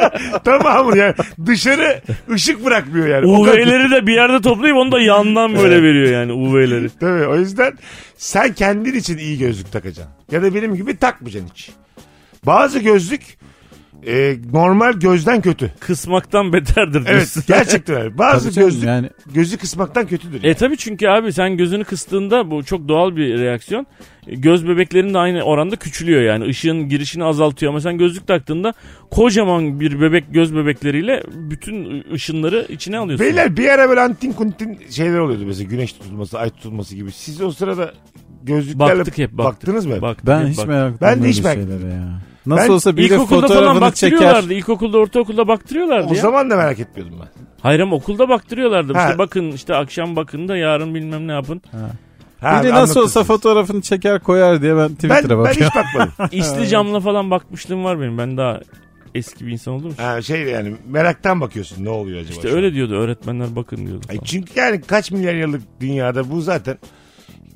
C: tamam yani dışarı ışık bırakmıyor yani. O kadar-
E: UV'leri de bir yerde toplayıp onu da yandan böyle veriyor yani UV'leri.
C: Tabii o yüzden sen kendin için iyi gözlük takacaksın. Ya da benim gibi takmayacaksın hiç. Bazı gözlük e, normal gözden kötü.
E: Kısmaktan beterdir
C: Evet
E: diyorsun.
C: gerçekten öyle. Bazı
D: Tabii canım,
C: gözlük
D: yani.
C: gözü kısmaktan kötüdür.
E: E tabi çünkü abi sen gözünü kıstığında bu çok doğal bir reaksiyon. E, Göz bebeklerin de aynı oranda küçülüyor yani. Işığın girişini azaltıyor ama sen gözlük taktığında kocaman bir bebek göz bebekleriyle bütün ışınları içine alıyorsun.
C: Beyler bir ara böyle antin kuntin şeyler oluyordu mesela güneş tutulması, ay tutulması gibi. Siz o sırada gözlüklerle
E: baktık hep baktık.
C: baktınız mı?
E: Baktık
D: Ben
E: hep
D: hiç
E: baktık.
D: merak
C: Ben de
D: etmiyorum
C: hiç
D: böyle
C: merak etmedim.
D: şeylere ya. Nasıl
C: Ben
D: olsa biri
E: İlkokulda falan
D: fotoğrafını çeker.
E: baktırıyorlardı. İlkokulda ortaokulda baktırıyorlardı
C: O
E: ya.
C: zaman da merak etmiyordum ben.
E: Hayır ama okulda baktırıyorlardı.
C: Ha.
E: İşte bakın işte akşam bakın da yarın bilmem ne yapın.
C: Ha,
D: Biri nasıl olsa
C: anlatırsınız.
D: fotoğrafını çeker koyar diye ben
C: ben,
D: Twitter'a
C: ben
D: bakıyorum.
C: hiç bakmadım.
E: İsli camla falan bakmışlığım var benim. Ben daha eski bir insan oldum.
C: Ha, şey yani meraktan bakıyorsun ne oluyor acaba?
E: İşte
C: şu
E: öyle
C: an?
E: diyordu öğretmenler bakın diyordu.
C: Ay,
E: falan.
C: çünkü yani kaç milyar yıllık dünyada bu zaten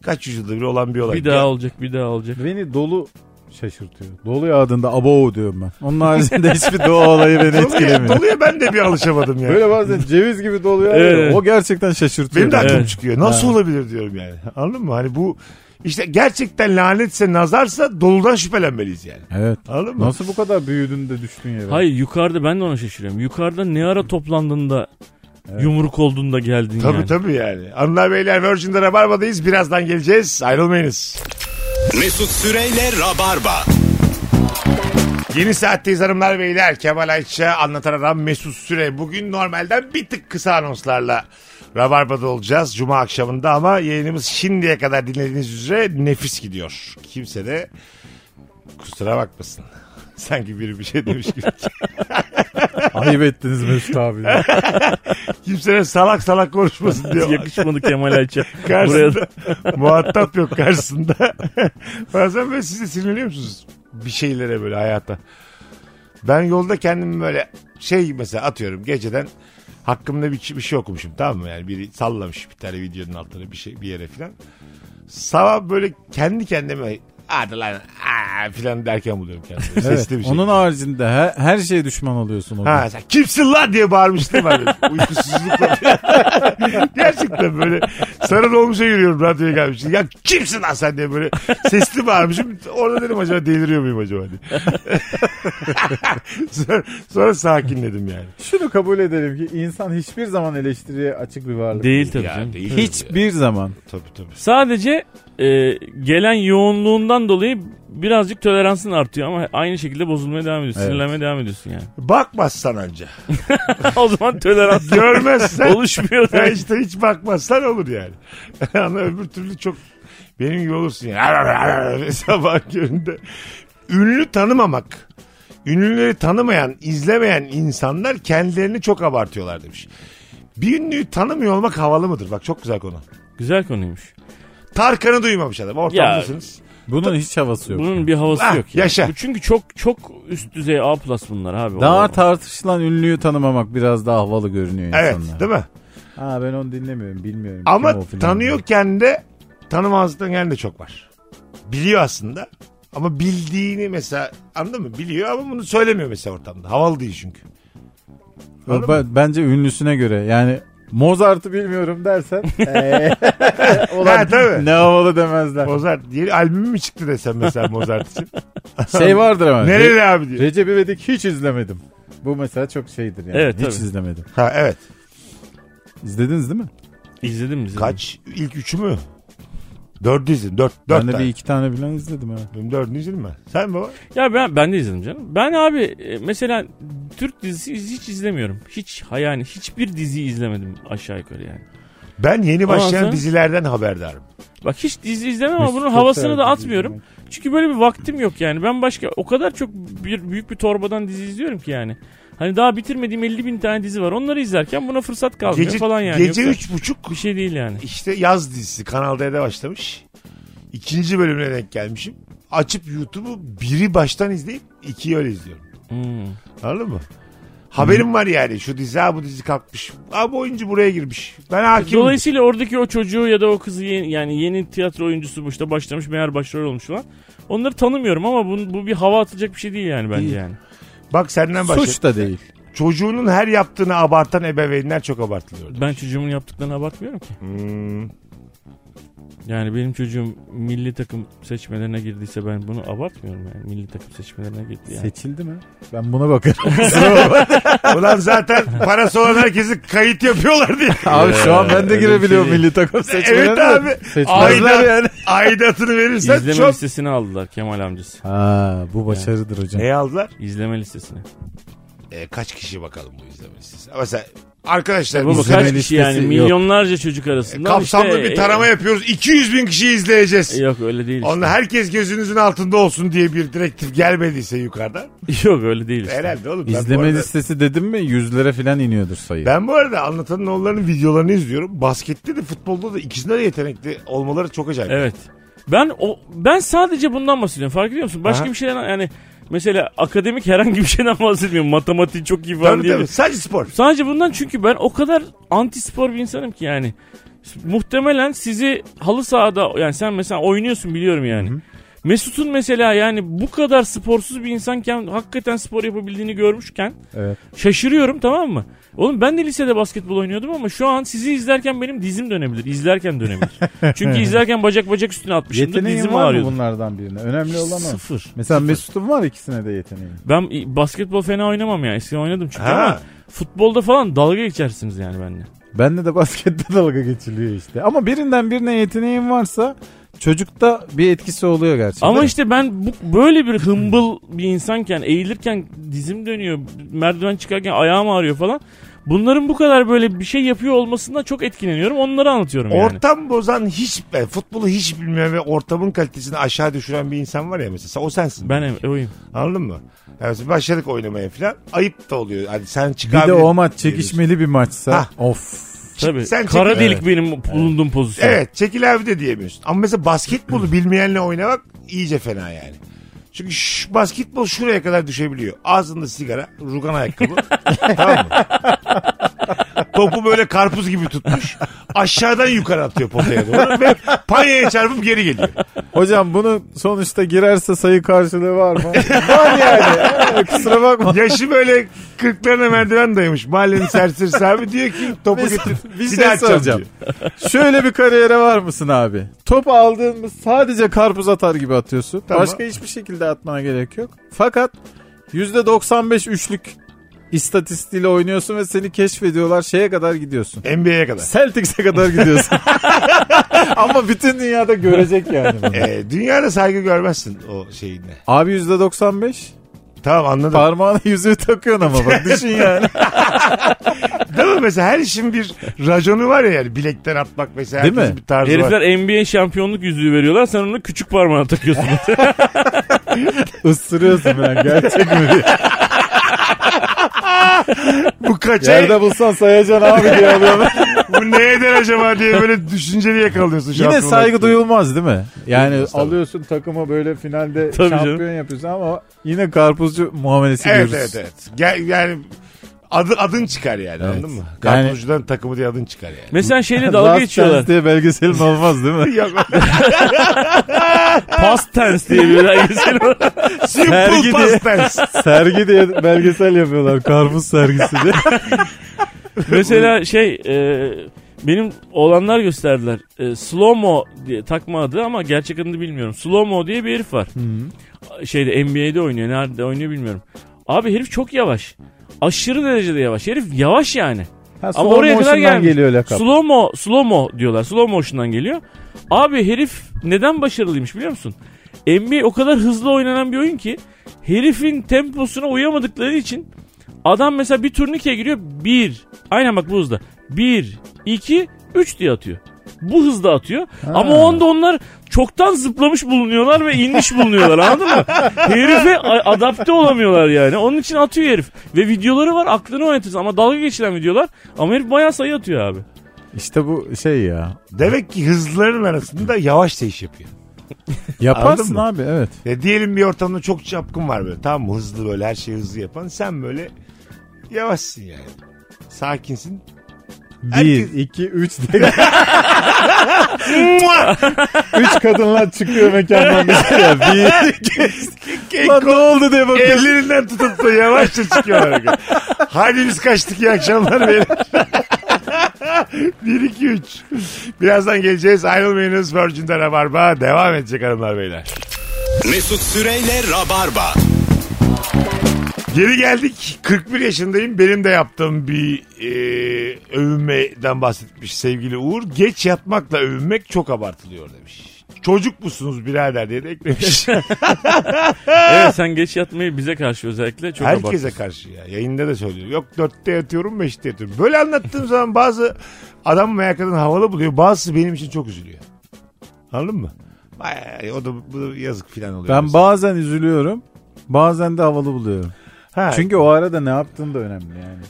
C: kaç yüzyılda bir olan bir olay.
E: Bir daha olacak bir daha olacak.
D: Beni dolu şaşırtıyor. Dolu yağdığında abo diyorum ben. Onun haricinde hiçbir doğa olayı beni
C: Doluya,
D: etkilemiyor.
C: doluya ben de bir alışamadım yani.
D: Böyle bazen ceviz gibi doluyor. ya,
E: Evet.
D: O gerçekten şaşırtıyor.
C: Benim de aklım
E: Evet.
C: çıkıyor. Nasıl olabilir diyorum yani. Anladın mı? Hani bu işte gerçekten lanetse nazarsa doludan şüphelenmeliyiz yani.
D: Evet.
C: Anladın mı?
D: Nasıl bu kadar büyüdün de düştün yere?
E: Hayır yukarıda ben de ona şaşırıyorum. Yukarıda ne ara toplandığında yumruk olduğunda geldin
C: Tabii
E: yani.
C: tabii yani. Anılar Beyler Virgin'de Rabarba'dayız. Birazdan geleceğiz. Ayrılmayınız.
B: Mesut Süreyle Rabarba.
C: Yeni saatteyiz hanımlar beyler. Kemal Ayça anlatan adam Mesut Süre. Bugün normalden bir tık kısa anonslarla Rabarba'da olacağız Cuma akşamında ama yayınımız şimdiye kadar dinlediğiniz üzere nefis gidiyor. Kimse de kusura bakmasın. Sanki biri bir şey demiş gibi.
D: Ayıp ettiniz Mesut abi.
C: Kimse de salak salak konuşmasın diyor.
E: Yakışmadı Kemal Ayça. Buraya da-
C: karşısında muhatap yok karşısında. Bazen böyle siz de sinirleniyor musunuz? Bir şeylere böyle hayata. Ben yolda kendimi böyle şey mesela atıyorum geceden hakkımda bir, bir şey okumuşum tamam mı? Yani biri sallamış bir tane videonun altına bir şey bir yere filan. Sabah böyle kendi kendime hadi lan aa" filan derken buluyorum kendimi.
D: Evet.
C: Sesli bir şey.
D: Onun haricinde her, her şeye düşman oluyorsun. o gün.
C: Ha sen kimsin lan diye bağırmıştım ben. Uykusuzlukla. Gerçekten böyle sarı dolmuşa yürüyorum radyoya gelmiştim. Ya kimsin lan sen diye böyle sesli bağırmışım. Orada dedim acaba deliriyor muyum acaba diye. sonra, sonra sakinledim yani.
D: Şunu kabul edelim ki insan hiçbir zaman eleştiriye açık bir varlık
E: Değil tabii canım.
C: Ya, değil ya.
D: Hiçbir zaman.
C: Tabii tabii.
E: Sadece e, gelen yoğunluğundan dolayı birazcık toleransın artıyor ama aynı şekilde bozulmaya devam ediyorsun.
D: Evet.
E: Sinirlenmeye devam ediyorsun yani.
C: Bakmazsan anca.
E: o zaman tolerans
C: Görmezsen.
E: oluşmuyor.
C: Ya
E: demek.
C: işte hiç bakmazsan olur yani. Ama öbür türlü çok benim gibi olursun yani. Ar- ar- ar- ar- Sabah köründe. Ünlü tanımamak. Ünlüleri tanımayan, izlemeyen insanlar kendilerini çok abartıyorlar demiş. Bir ünlüyü tanımıyor olmak havalı mıdır? Bak çok güzel konu.
E: Güzel konuymuş.
C: Tarkan'ı duymamış adam. Ortamdasınız.
D: Bunun hiç havası yok.
E: Bunun bir havası
C: Ah,
E: yok. Yani.
C: yaşa.
E: Bu çünkü çok çok üst düzey A plus bunlar abi.
D: Daha
E: O-
D: tartışılan ünlüyü tanımamak biraz daha havalı görünüyor
C: Evet
D: insanlara.
C: değil mi?
D: Ha ben onu dinlemiyorum bilmiyorum. Kim
C: Ama
D: o filan diye.
C: tanıyorken de tanımazlıktan gelen de çok var. Biliyor aslında Ama bildiğini mesela anladın mı? Biliyor ama bunu söylemiyor mesela ortamda. Havalı değil çünkü. Anladın mı?
D: Ben- bence ünlüsüne göre yani Mozart'ı bilmiyorum dersen eee,
C: Ee, Ha, tabii.
D: ne havalı demezler.
C: Mozart diye albümü mü çıktı desem mesela Mozart için.
D: Şey vardır ama. Re-
C: Nereli abi diyor.
D: Recep İvedik hiç izlemedim. Bu mesela çok şeydir yani.
E: Evet,
D: hiç
E: tabii.
D: izlemedim.
C: Ha evet.
D: İzlediniz değil mi?
E: İzledim izledim.
C: Kaç? İlk üçü mü? Dördü izledim. Dört, dört
D: ben de
C: tane.
D: bir iki tane bilen izledim ha.
C: Benim dördünü izledim ben. Sen baba?
E: Ya ben ben de izledim canım. Ben abi e, mesela Türk dizisi iz- hiç izlemiyorum. Hiç ha yani hiçbir dizi izlemedim aşağı yukarı yani.
C: Ben yeni
E: Ondan
C: başlayan
E: sonra-
C: dizilerden haberdarım.
E: Bak hiç dizi izlemem ama
D: Mesut
E: bunun
D: çok
E: havasını
D: sever
E: da
D: dizi
E: atmıyorum. Çünkü böyle bir vaktim yok yani. Ben başka o kadar çok bir büyük bir torbadan dizi izliyorum ki yani. Hani daha bitirmediğim 50 bin tane dizi var. Onları izlerken buna fırsat kalmıyor
C: Gece,
E: falan yani.
C: gece
E: Yoksa
C: üç buçuk
E: bir şey değil yani.
C: işte yaz dizisi Kanal D'de başlamış. İkinci bölümüne denk gelmişim. Açıp YouTube'u biri baştan izleyip ikiyi öyle izliyorum.
E: Hmm.
C: Anladın mı?
D: Hmm.
C: Haberim var yani şu dizi ha bu dizi kalkmış. Abi oyuncu buraya girmiş. Ben hakim.
E: Dolayısıyla oradaki o çocuğu ya da o kızı yeni, yani yeni tiyatro oyuncusu bu işte başlamış meğer başrol olmuş falan. Onları tanımıyorum ama bu, bu bir hava atılacak bir şey değil yani bence
D: Değil.
E: yani.
C: Bak senden başla.
D: Suç da değil.
C: Çocuğunun her yaptığını abartan ebeveynler çok abartılıyor.
E: Ben çocuğumun yaptıklarını abartmıyorum ki.
C: Hmm.
E: Yani benim çocuğum milli takım seçmelerine girdiyse ben bunu abartmıyorum yani. Milli takım seçmelerine girdi yani.
D: Seçildi mi? Ben buna bakarım.
C: Ulan zaten parası olan herkesi kayıt yapıyorlar diye.
D: abi şu an ben de girebiliyorum
E: şey değil.
D: milli takım seçmelerine.
C: evet
D: de.
C: abi.
D: Seçmezler
C: Ayda,
D: ya.
C: Aidatını verirsen
E: İzleme
C: çok.
E: listesini aldılar Kemal amcası.
D: Ha, bu başarıdır hocam.
C: Ne aldılar?
E: İzleme listesini.
C: E, kaç kişi bakalım bu izleme listesi? Mesela arkadaşlar
E: Baba
C: izleme-
E: kaç kişi yani
D: listesi yok.
E: milyonlarca çocuk arasında.
C: kapsamlı
E: işte- e,
C: bir tarama yapıyoruz. 200 bin kişiyi izleyeceğiz.
E: Yok öyle değil işte.
C: Onunla herkes gözünüzün altında olsun diye bir direktif gelmediyse yukarıdan.
E: Yok öyle değil işte.
C: Herhalde oğlum. ben bu
D: İzleme
C: arada-
D: listesi dedim mi yüzlere falan iniyordur sayı.
C: Ben bu arada anlatanın oğullarının videolarını izliyorum. Baskette de futbolda da ikisinde de yetenekli olmaları çok acayip.
E: Evet. Ben o ben sadece bundan bahsediyorum. Fark ediyor musun? Başka
C: Aha.
E: bir şeyden yani mesela akademik herhangi bir şeyden bahsetmiyorum. Matematiği çok iyi falan
C: Tabii,
E: diye.
C: tabii. Sadece spor.
E: Sadece bundan çünkü ben o kadar anti spor bir insanım ki yani. Muhtemelen sizi halı sahada yani sen mesela oynuyorsun biliyorum yani. Mesut'un mesela yani bu kadar sporsuz bir insanken hakikaten spor yapabildiğini görmüşken
D: Evet.
E: şaşırıyorum tamam mı? Oğlum ben de lisede basketbol oynuyordum ama şu an sizi izlerken benim dizim dönebilir. İzlerken dönebilir. Çünkü izlerken bacak bacak üstüne atmışımdır
D: Yeteneğin
E: dizim
D: var mı
E: ağrıyordu.
D: bunlardan birine? Önemli olan o.
E: Sıfır.
D: Mesela Mesut'un var ikisine de yeteneği.
E: Ben i- basketbol fena oynamam ya. Eskiden oynadım çünkü
C: Ha.
E: ama futbolda falan dalga geçersiniz yani benimle.
D: Bende de baskette dalga geçiliyor işte. Ama birinden birine yeteneğin varsa çocukta bir etkisi oluyor gerçekten.
E: Ama işte ben bu, böyle bir hımbıl bir insanken eğilirken dizim dönüyor, merdiven çıkarken ayağım ağrıyor falan. Bunların bu kadar böyle bir şey yapıyor olmasından çok etkileniyorum. Onları anlatıyorum yani.
C: Ortam bozan hiç e, futbolu hiç bilmeyen ve ortamın kalitesini aşağı düşüren bir insan var ya mesela o sensin.
E: Ben ev, oyum.
C: Anladın mı? Yani mesela başladık oynamaya falan. Ayıp da oluyor. Hani sen
D: bir
C: çıkabilir.
D: de o maç çekişmeli bir maçsa.
C: Hah.
D: Of.
E: Tabii.
C: sen çek-
E: Kara delik benim bulunduğum pozisyon.
C: Evet çekil abi de diyemiyorsun. Ama mesela basketbolu bilmeyenle oynamak iyice fena yani. Çünkü şu, basketbol şuraya kadar düşebiliyor. Ağzında sigara, rugan ayakkabı. tamam mı? Topu böyle karpuz gibi tutmuş. Aşağıdan yukarı atıyor potaya doğru. Ve panyaya çarpıp geri geliyor.
D: Hocam bunu sonuçta girerse sayı karşılığı var mı? var yani. Kusura bakma.
C: Yaşı böyle kırklarına merdiven dayamış. Mahallenin serserisi abi diyor ki topu
D: Mesut,
C: getir.
D: bir şey
C: daha atacağım
D: soracağım. Şöyle bir kariyere var mısın abi? Top aldığın sadece karpuz atar gibi atıyorsun.
C: Tamam.
D: Başka hiçbir şekilde atmana gerek yok. Fakat %95 üçlük istatistiğiyle oynuyorsun ve seni keşfediyorlar şeye kadar gidiyorsun.
C: diyor. NBA'ye kadar.
D: Celtics'e kadar gidiyorsun. Ama bütün dünyada görecek yani. bunu.
C: Ee, dünyada saygı görmezsin o şeyine.
D: Abi %95
C: Tamam anladım.
D: parmağına yüzüğü takıyorsun ama bak düşün yani.
C: Değil mi? Mesela her işin bir raconu var ya yani bilekten atmak mesela.
D: Değil
C: Değil
D: mi?
C: Bir tarzı var.
E: Herifler NBA şampiyonluk yüzüğü veriyorlar. Sen onu küçük parmağına takıyorsun.
D: Isırıyorsun falan gerçek mi diye.
C: Bu kaça
D: Yerde bulsan sayacaksın abi diye alıyorum.
C: bu neye eder acaba diye böyle düşünceli yakalıyorsun. şu an
D: Yine
C: bunu.
D: saygı duyulmaz değil mi? Yani
C: Duyulmaz tabii.
D: alıyorsun takımı böyle finalde
E: Tabii
D: şampiyon
E: canım.
D: yapıyorsun ama yine karpuzcu muamelesi
C: Evet
D: görürüz.
C: evet evet. Gel, yani adı, adın çıkar yani anladın mı?
D: Yani-
C: Karpuzcudan takımı diye adın çıkar yani.
E: Mesela şeyle dalga
D: Last
E: geçiyorlar.
D: Dance diye belgesel mi olmaz değil mi?
C: Yok.
E: Past tense diye bir belgesel var.
C: Simple
D: Sergi diye.
C: past tense.
D: Sergi diye belgesel yapıyorlar. Karpuz sergisi diye.
E: Mesela şey e, benim olanlar gösterdiler. E, Slomo diye takma adı ama gerçek adını bilmiyorum. Slomo diye bir herif var. Şeyde NBA'de oynuyor. Nerede oynuyor bilmiyorum. Abi herif çok yavaş. Aşırı derecede yavaş. Herif yavaş yani.
D: Ha,
E: Ama
D: slow
E: oraya kadar
D: motion'dan
E: gelmiş.
D: geliyor lakap.
E: Slow mo, slow mo diyorlar. Slow motion'dan geliyor. Abi herif neden başarılıymış biliyor musun? NBA o kadar hızlı oynanan bir oyun ki herifin temposuna uyamadıkları için adam mesela bir turnikeye giriyor bir. Aynen bak bu hızda. Bir, iki, üç diye atıyor. Bu hızda atıyor. Ama o anda onlar çoktan zıplamış bulunuyorlar ve inmiş bulunuyorlar anladın mı? Herife a- adapte olamıyorlar yani. Onun için atıyor herif. Ve videoları var aklını oynatırsın ama dalga geçilen videolar. Ama herif bayağı sayı atıyor abi.
D: İşte bu şey ya.
C: Demek ki hızlıların arasında yavaş da iş yapıyor. Anladın
D: Yaparsın
C: mı?
D: abi evet.
C: Ya diyelim bir ortamda çok çapkın var böyle tamam mı hızlı böyle her şeyi hızlı yapan sen böyle yavaşsın yani. Sakinsin. Herkes-
D: Bir, iki, üç diye.
C: Mua!
D: üç kadınlar çıkıyor mekandan dışarıya. Bir, iki. Lan ne oldu diye bakıyorsun.
C: Ellerinden tutup da yavaşça çıkıyorlar. Hadi biz kaçtık iyi akşamlar beyler. 1 2 3. Birazdan geleceğiz. Ayrılmayınız. Virgin'de Rabarba devam edecek hanımlar beyler.
B: Mesut Süreyle Rabarba.
C: Geri geldik. 41 yaşındayım. Benim de yaptığım bir e, övünmeden bahsetmiş sevgili Uğur. Geç yatmakla övünmek çok abartılıyor demiş. Çocuk musunuz birader diye de eklemiş. Ah!
E: Evet sen geç yatmayı bize karşı özellikle çok
C: Herkese
E: abartıyorsun.
C: karşı ya. Yayında da söylüyor. Yok dörtte yatıyorum beşte yatıyorum. Böyle anlattığım zaman bazı adam veya kadın havalı buluyor. Bazısı benim için çok üzülüyor. Anladın mı? Vay, o da bu da yazık filan oluyor.
D: Ben
C: mesela.
D: bazen üzülüyorum. Bazen de havalı buluyorum.
C: Ha,
D: Çünkü o arada ne yaptığın da önemli yani.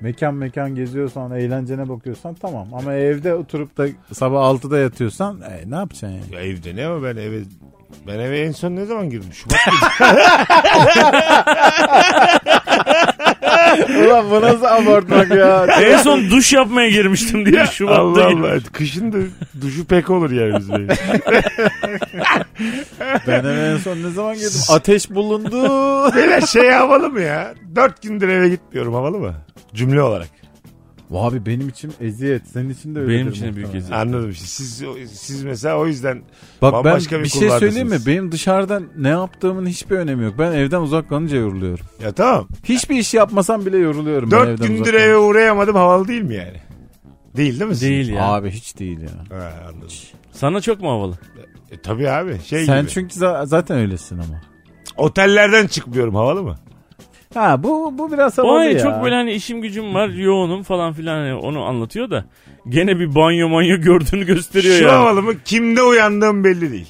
D: Mekan mekan geziyorsan, eğlencene bakıyorsan tamam. Ama evde oturup da sabah 6'da yatıyorsan e, ne yapacaksın yani?
C: Ya evde ne ama ben eve ben eve en son ne zaman girdim? Şubat girdim.
D: Ulan bu nasıl abartmak ya?
E: En son duş yapmaya girmiştim diye Şubat'ta
C: Allah
E: girdim.
C: Allah. Kışın da duşu pek olur yani biz benim.
D: Ben eve en son ne zaman girdim? Ateş bulundu.
C: Böyle şey havalı mı ya? Dört gündür eve gitmiyorum havalı mı? Cümle olarak.
D: Abi benim için eziyet. Senin için de öyle.
E: Benim için de büyük eziyet.
C: Anladım. işte. Siz, siz mesela o yüzden
D: Bak ben
C: bambaşka
D: bir,
C: bir
D: şey söyleyeyim mi?
C: kulvardasınız.
D: Benim dışarıdan ne yaptığımın hiçbir önemi yok. Ben evden uzak kalınca yoruluyorum.
C: Ya tamam.
D: Hiçbir iş yapmasam bile yoruluyorum ben
C: Dört
D: evden
C: gündür
D: uzak
C: eve
D: kalınca.
C: uğrayamadım havalı değil mi yani? Değil değil mi? sizin?
E: Değil ya.
D: Abi hiç değil ya.
C: Ha, anladım.
E: Sana çok mu havalı?
C: E, tabii abi şey
D: Sen
C: gibi.
D: çünkü za- zaten öylesin ama.
C: Otellerden çıkmıyorum havalı mı?
D: Ha bu bu biraz
E: O
D: havalı
E: hani
D: ya.
E: çok böyle hani işim gücüm var yoğunum falan filan hani onu anlatıyor da gene bir banyo manyo gördüğünü gösteriyor
C: Şu
E: ya.
C: havalı mı kimde uyandığım belli değil.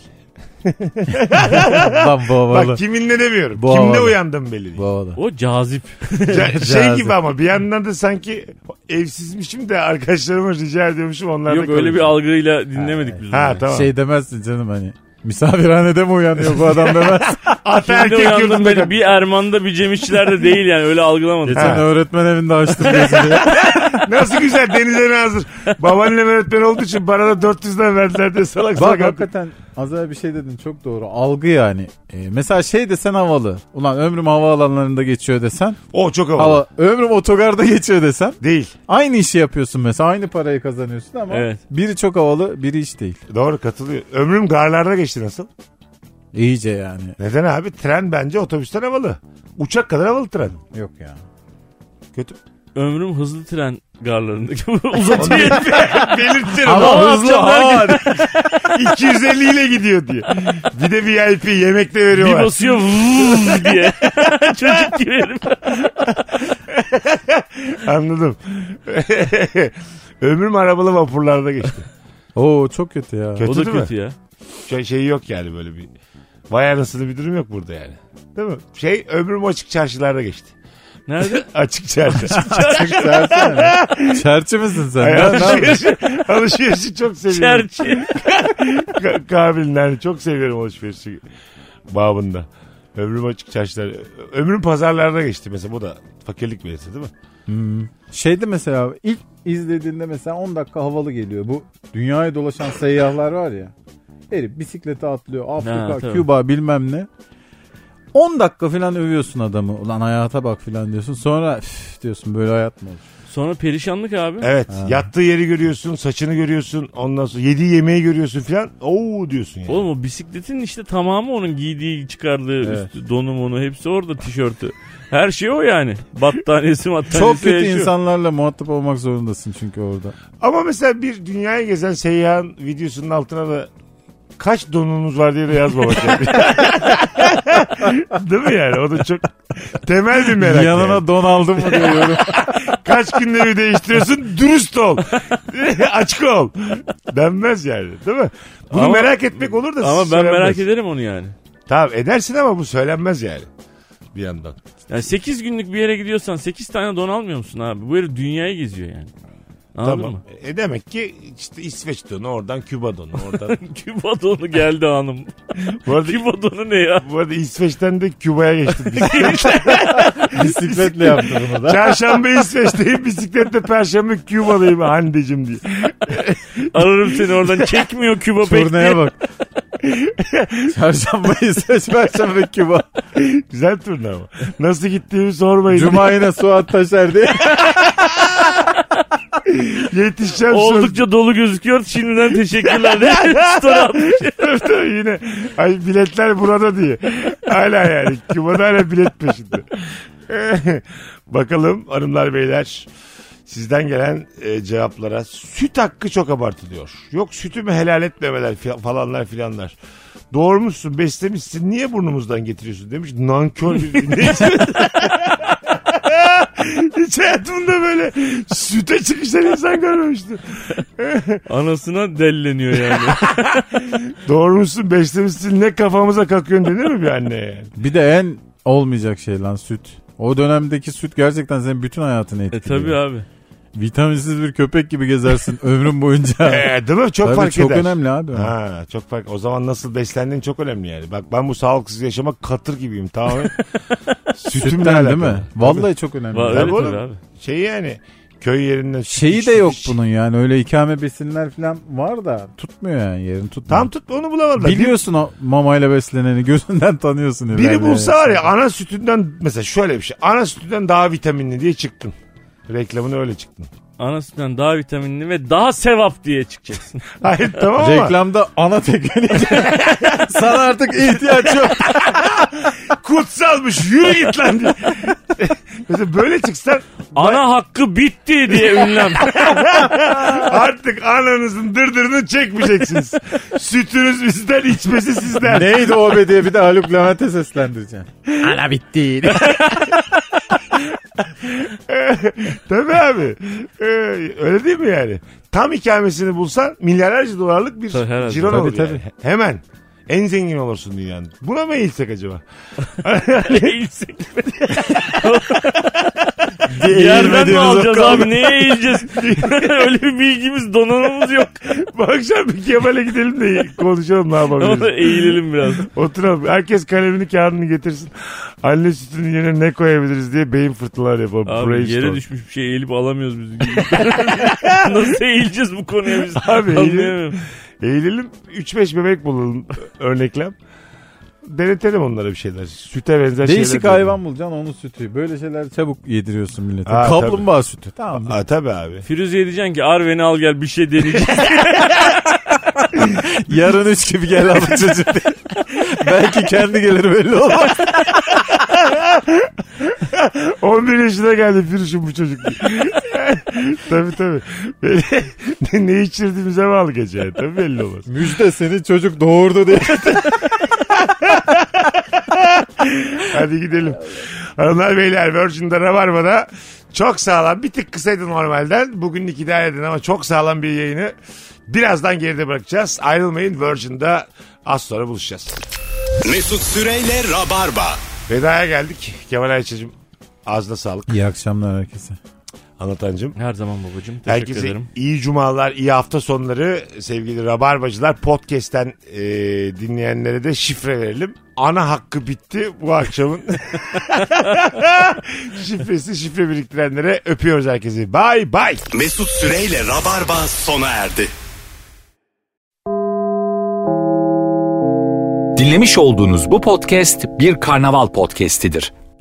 D: Lan bu havalı.
C: Bak kiminle demiyorum.
D: Bu
C: kimde
D: havalı.
C: uyandığım belli değil.
D: Bu havalı.
E: O cazip.
C: Ca- şey
D: Cazip.
C: gibi ama bir yandan da sanki evsizmişim de arkadaşlarıma rica ediyormuşum onlar
E: Yok
C: da
E: öyle bir
C: kalıyor.
E: algıyla dinlemedik biz.
C: Ha
E: onu.
C: tamam.
D: Şey demezsin canım hani. Misafirhanede mi uyanıyor bu adam demez.
C: Ata
E: Şimdi
C: erkek
E: uyandım
C: yurdunda
E: beni bir Erman'da bir Cem İşçiler'de değil yani öyle algılamadım.
D: Geçen
C: Ha.
D: öğretmen evinde açtım gözünü.
C: Nasıl güzel denize nazır. Babaannem öğretmen olduğu için bana da 400 lira verdiler de salak
D: Bak
C: salak.
D: hakikaten az evvel bir şey dedin çok doğru. Algı yani. Ee, mesela şey desen havalı. Ulan ömrüm havaalanlarında geçiyor desen.
C: O çok havalı.
D: Hava, ömrüm otogarda geçiyor desen.
C: Değil.
D: Aynı işi yapıyorsun mesela. Aynı parayı kazanıyorsun ama
E: Evet.
D: biri çok havalı biri hiç değil.
C: Doğru katılıyor. Ömrüm garlarda geçti nasıl?
D: İyice yani.
C: Neden abi? Tren bence otobüsten havalı. Uçak kadar havalı tren.
D: Yok ya.
C: Kötü.
E: Ömrüm hızlı tren garlarındaki uzatıyor. herifi.
C: Belirtirim.
D: Ama
C: Ama
D: hızlı hava.
C: 250 ile gidiyor diye. Bir de VIP yemek de
E: bir
C: veriyorlar.
E: basıyor vuv diye. Çocuk gibi herif.
C: Anladım. Ömrüm arabalı vapurlarda geçti.
D: Oo çok kötü ya.
C: Kötü
E: O da
C: değil mi?
E: kötü ya.
C: Şey, şey yok yani böyle bir. Vay anasını bir durum yok burada yani. Değil mi? Şey ömrüm açık çarşılarda geçti.
E: Nerede?
C: Açık çarşı.
D: Çerçi misin sen?
C: Ay,
D: Lan ne yapıyorsun?
C: alışverişi, alışverişi çok seviyorum.
E: Çerçi.
C: Ka- Kabil'in yani çok seviyorum alışverişi babında. Ömrüm açık çarşılar. Ömrüm pazarlarda geçti mesela. Bu da fakirlik belirti değil mi?
D: Şeyde mesela ilk izlediğinde mesela 10 dakika havalı geliyor. Bu dünyaya dolaşan seyyahlar var ya. Herif bisiklete atlıyor. Afrika,
E: Ha, tabii.
D: Küba bilmem ne. 10 dakika falan övüyorsun adamı. Ulan hayata bak falan diyorsun. Sonra "Üf," diyorsun böyle hayat mı olur?
E: Sonra perişanlık abi.
C: Evet. Yattığı yeri görüyorsun, saçını görüyorsun, ondan sonra yediği yemeği görüyorsun filan. Oo diyorsun yani.
E: Oğlum o bisikletin işte tamamı onun giydiği çıkardığı
D: Evet.
E: üstü, donu monu hepsi orada tişörtü. Her şey o yani. Battaniyesi şey battaniyesi.
D: Çok kötü
E: yaşıyor.
D: insanlarla muhatap olmak zorundasın çünkü orada.
C: Ama mesela bir dünyaya gezen seyyahın videosunun altına da kaç donunuz var diye de yazmamak yani. Değil mi yani? O da çok temel bir merak.
D: Yanına
C: yani.
D: don aldın mı diyorum.
C: Kaç günde evi değiştiriyorsun? Dürüst ol. Açık ol. Denmez yani. Değil mi? Bunu
E: Ama-
C: merak etmek olur da
E: Ama ben
D: şey
C: söylenmez.
E: merak ederim onu yani.
C: Tamam edersin ama bu söylenmez yani. Bir yandan.
E: Yani 8 günlük bir yere gidiyorsan 8 tane don almıyor musun abi? Bu herif dünyayı geziyor yani. Anladın
C: tamam.
E: mı?
C: E demek ki işte İsveç donu oradan Küba donu oradan.
E: Küba donu geldi hanım.
C: bu, arada,
E: Küba donu ne ya?
C: bu arada İsveç'ten de Küba'ya geçtim.
D: Bisikletle yaptı bunu da.
C: Çarşamba İsveç'teyim bisikletle perşembe Küba'dayım Hande'cim diye.
E: Ararım seni oradan çekmiyor Küba pek
D: Turneye bak. Çarşamba İsveç, Perşembe Küba.
C: Güzel turnu ama. Nasıl gittiğimi sormayın.
D: Cuma yine Suat Taşer diye.
C: Yetişeceğim söz.
E: Oldukça dolu gözüküyor. Şimdiden teşekkürler. diye story atmış.
C: Tabii yine. Ay biletler burada diye. Hala yani. Küba'da hala bilet peşinde. Bakalım hanımlar beyler. Sizden gelen e, cevaplara süt hakkı çok abartılıyor. Yok sütümü helal etmemeler fi- falanlar filanlar. Doğurmuşsun beslemişsin niye burnumuzdan getiriyorsun demiş. Nankör bir dinleyici. Hiç hayatımda böyle süte çıkışan insan görmemiştim.
E: Anasına delleniyor yani.
C: Doğurmuşsun beslemişsin ne kafamıza kakıyorsun denir mi bir anne yani?
D: Bir de en olmayacak şey lan süt. O dönemdeki süt gerçekten senin bütün hayatını
E: e
D: etkiliyor.
E: tabi abi.
D: Vitaminsiz bir köpek gibi gezersin ömrün boyunca.
C: Ee, değil mi? Çok
D: Tabii
C: fark
D: çok
C: eder.
D: önemli abi.
C: Ha, çok fark. O zaman nasıl beslendiğin çok önemli yani. Bak ben bu sağlıksız yaşamak katır gibiyim tamamen. Sütümle
D: Sütten
C: alakalı.
D: değil mi? Vallahi çok önemli.
E: Va-
C: Tabii.
E: öyle
C: Tabii oğlum.
E: tabii abi.
C: Şey yani köy yerinden süt
D: Şeyi de
C: içmiş.
D: yok bunun yani öyle ikame besinler falan var da tutmuyor yani yerini tutmuyor.
C: Tam tut onu bulamadılar. Bir-
D: Biliyorsun o mamayla besleneni gözünden tanıyorsun.
C: biri
D: herhalde.
C: bulsa var ya ana sütünden mesela şöyle bir şey. Ana sütünden daha vitaminli diye çıktın. Reklamını öyle çıktın.
E: Anasından daha vitaminli ve daha sevap diye çıkacaksın.
C: Hayır tamam ama.
D: Reklamda ana teknik. Sana artık ihtiyaç yok.
C: Kutsalmış yürü git lan diye. mesela böyle çıksan
E: Ana hakkı bitti diye ünlem.
C: artık ananızın dırdırını çekmeyeceksiniz. Sütünüz bizden içmesi sizden.
D: Neydi o be diye bir de Haluk Levent'e seslendireceksin. Ana bitti.
C: Tabii abi. Ee, öyle değil mi yani? Tam ikamesini bulsan milyarlarca dolarlık bir
E: Tabii, herhalde.
C: ciron
D: Tabii,
C: olur yani.
D: tabii.
C: Hemen. En zengin olursun dünyanın. Buna mı eğilsek acaba?
E: Eğilsek. Yerden mi alacağız abi? Neye eğileceğiz? Öyle bir bilgimiz donanımız yok.
C: Bu akşam bir Kemal'e gidelim de konuşalım ne
E: Ama
C: yapabiliriz.
E: eğilelim biraz.
C: Oturalım. Herkes kalemini kağıdını getirsin. Anne sütünün yerine ne koyabiliriz diye beyin fırtınaları yapalım.
E: Abi
C: Brainstorm.
E: yere düşmüş bir şey eğilip alamıyoruz biz. Nasıl eğileceğiz bu konuya biz?
C: Abi eğil-
E: Anlayamıyorum.
C: Eğilelim 3-5 bebek bulalım örneklem. Denetelim onlara bir şeyler. Süte benzer şeyler.
D: Değişik hayvan bulacaksın onun sütü. Böyle şeyler çabuk yediriyorsun millete.
C: Ha,
D: Kaplumbağa sütü. Tamam.
C: Aa, tabii abi.
E: Firuze'ye diyeceksin ki Arven'i al gel bir şey deneyeceğiz.
D: Yarın üç gibi gel al çocuğu diye. Belki kendi gelir belli olmaz.
C: 11 yaşına geldi Firuş'un bu çocuk. tabii tabii. Böyle, ne, ne içirdiğimize bağlı gece. yani. Tabii belli olmaz.
D: Müjde senin çocuk doğurdu diye.
C: Hadi gidelim. Hanımlar beyler Virgin'de Rabarba'da çok sağlam bir tık kısaydı normalden. Bugün idare edin ama çok sağlam bir yayını birazdan geride bırakacağız. Ayrılmayın Virgin'da az sonra buluşacağız.
B: Mesut Süreyle Rabarba.
C: Veda'ya geldik. Kemal Ayça'cığım ağzına sağlık.
D: İyi akşamlar herkese.
C: Anlatancım.
E: Her zaman babacığım. Teşekkür
C: Herkese
E: ederim.
C: iyi cumalar, iyi hafta sonları sevgili Rabarbacılar. Podcast'ten e, dinleyenlere de şifre verelim. Ana hakkı bitti bu akşamın. Şifresi şifre biriktirenlere öpüyoruz herkesi. Bay bay.
B: Mesut Süreyle Rabarba sona erdi.
A: Dinlemiş olduğunuz bu podcast bir karnaval podcastidir.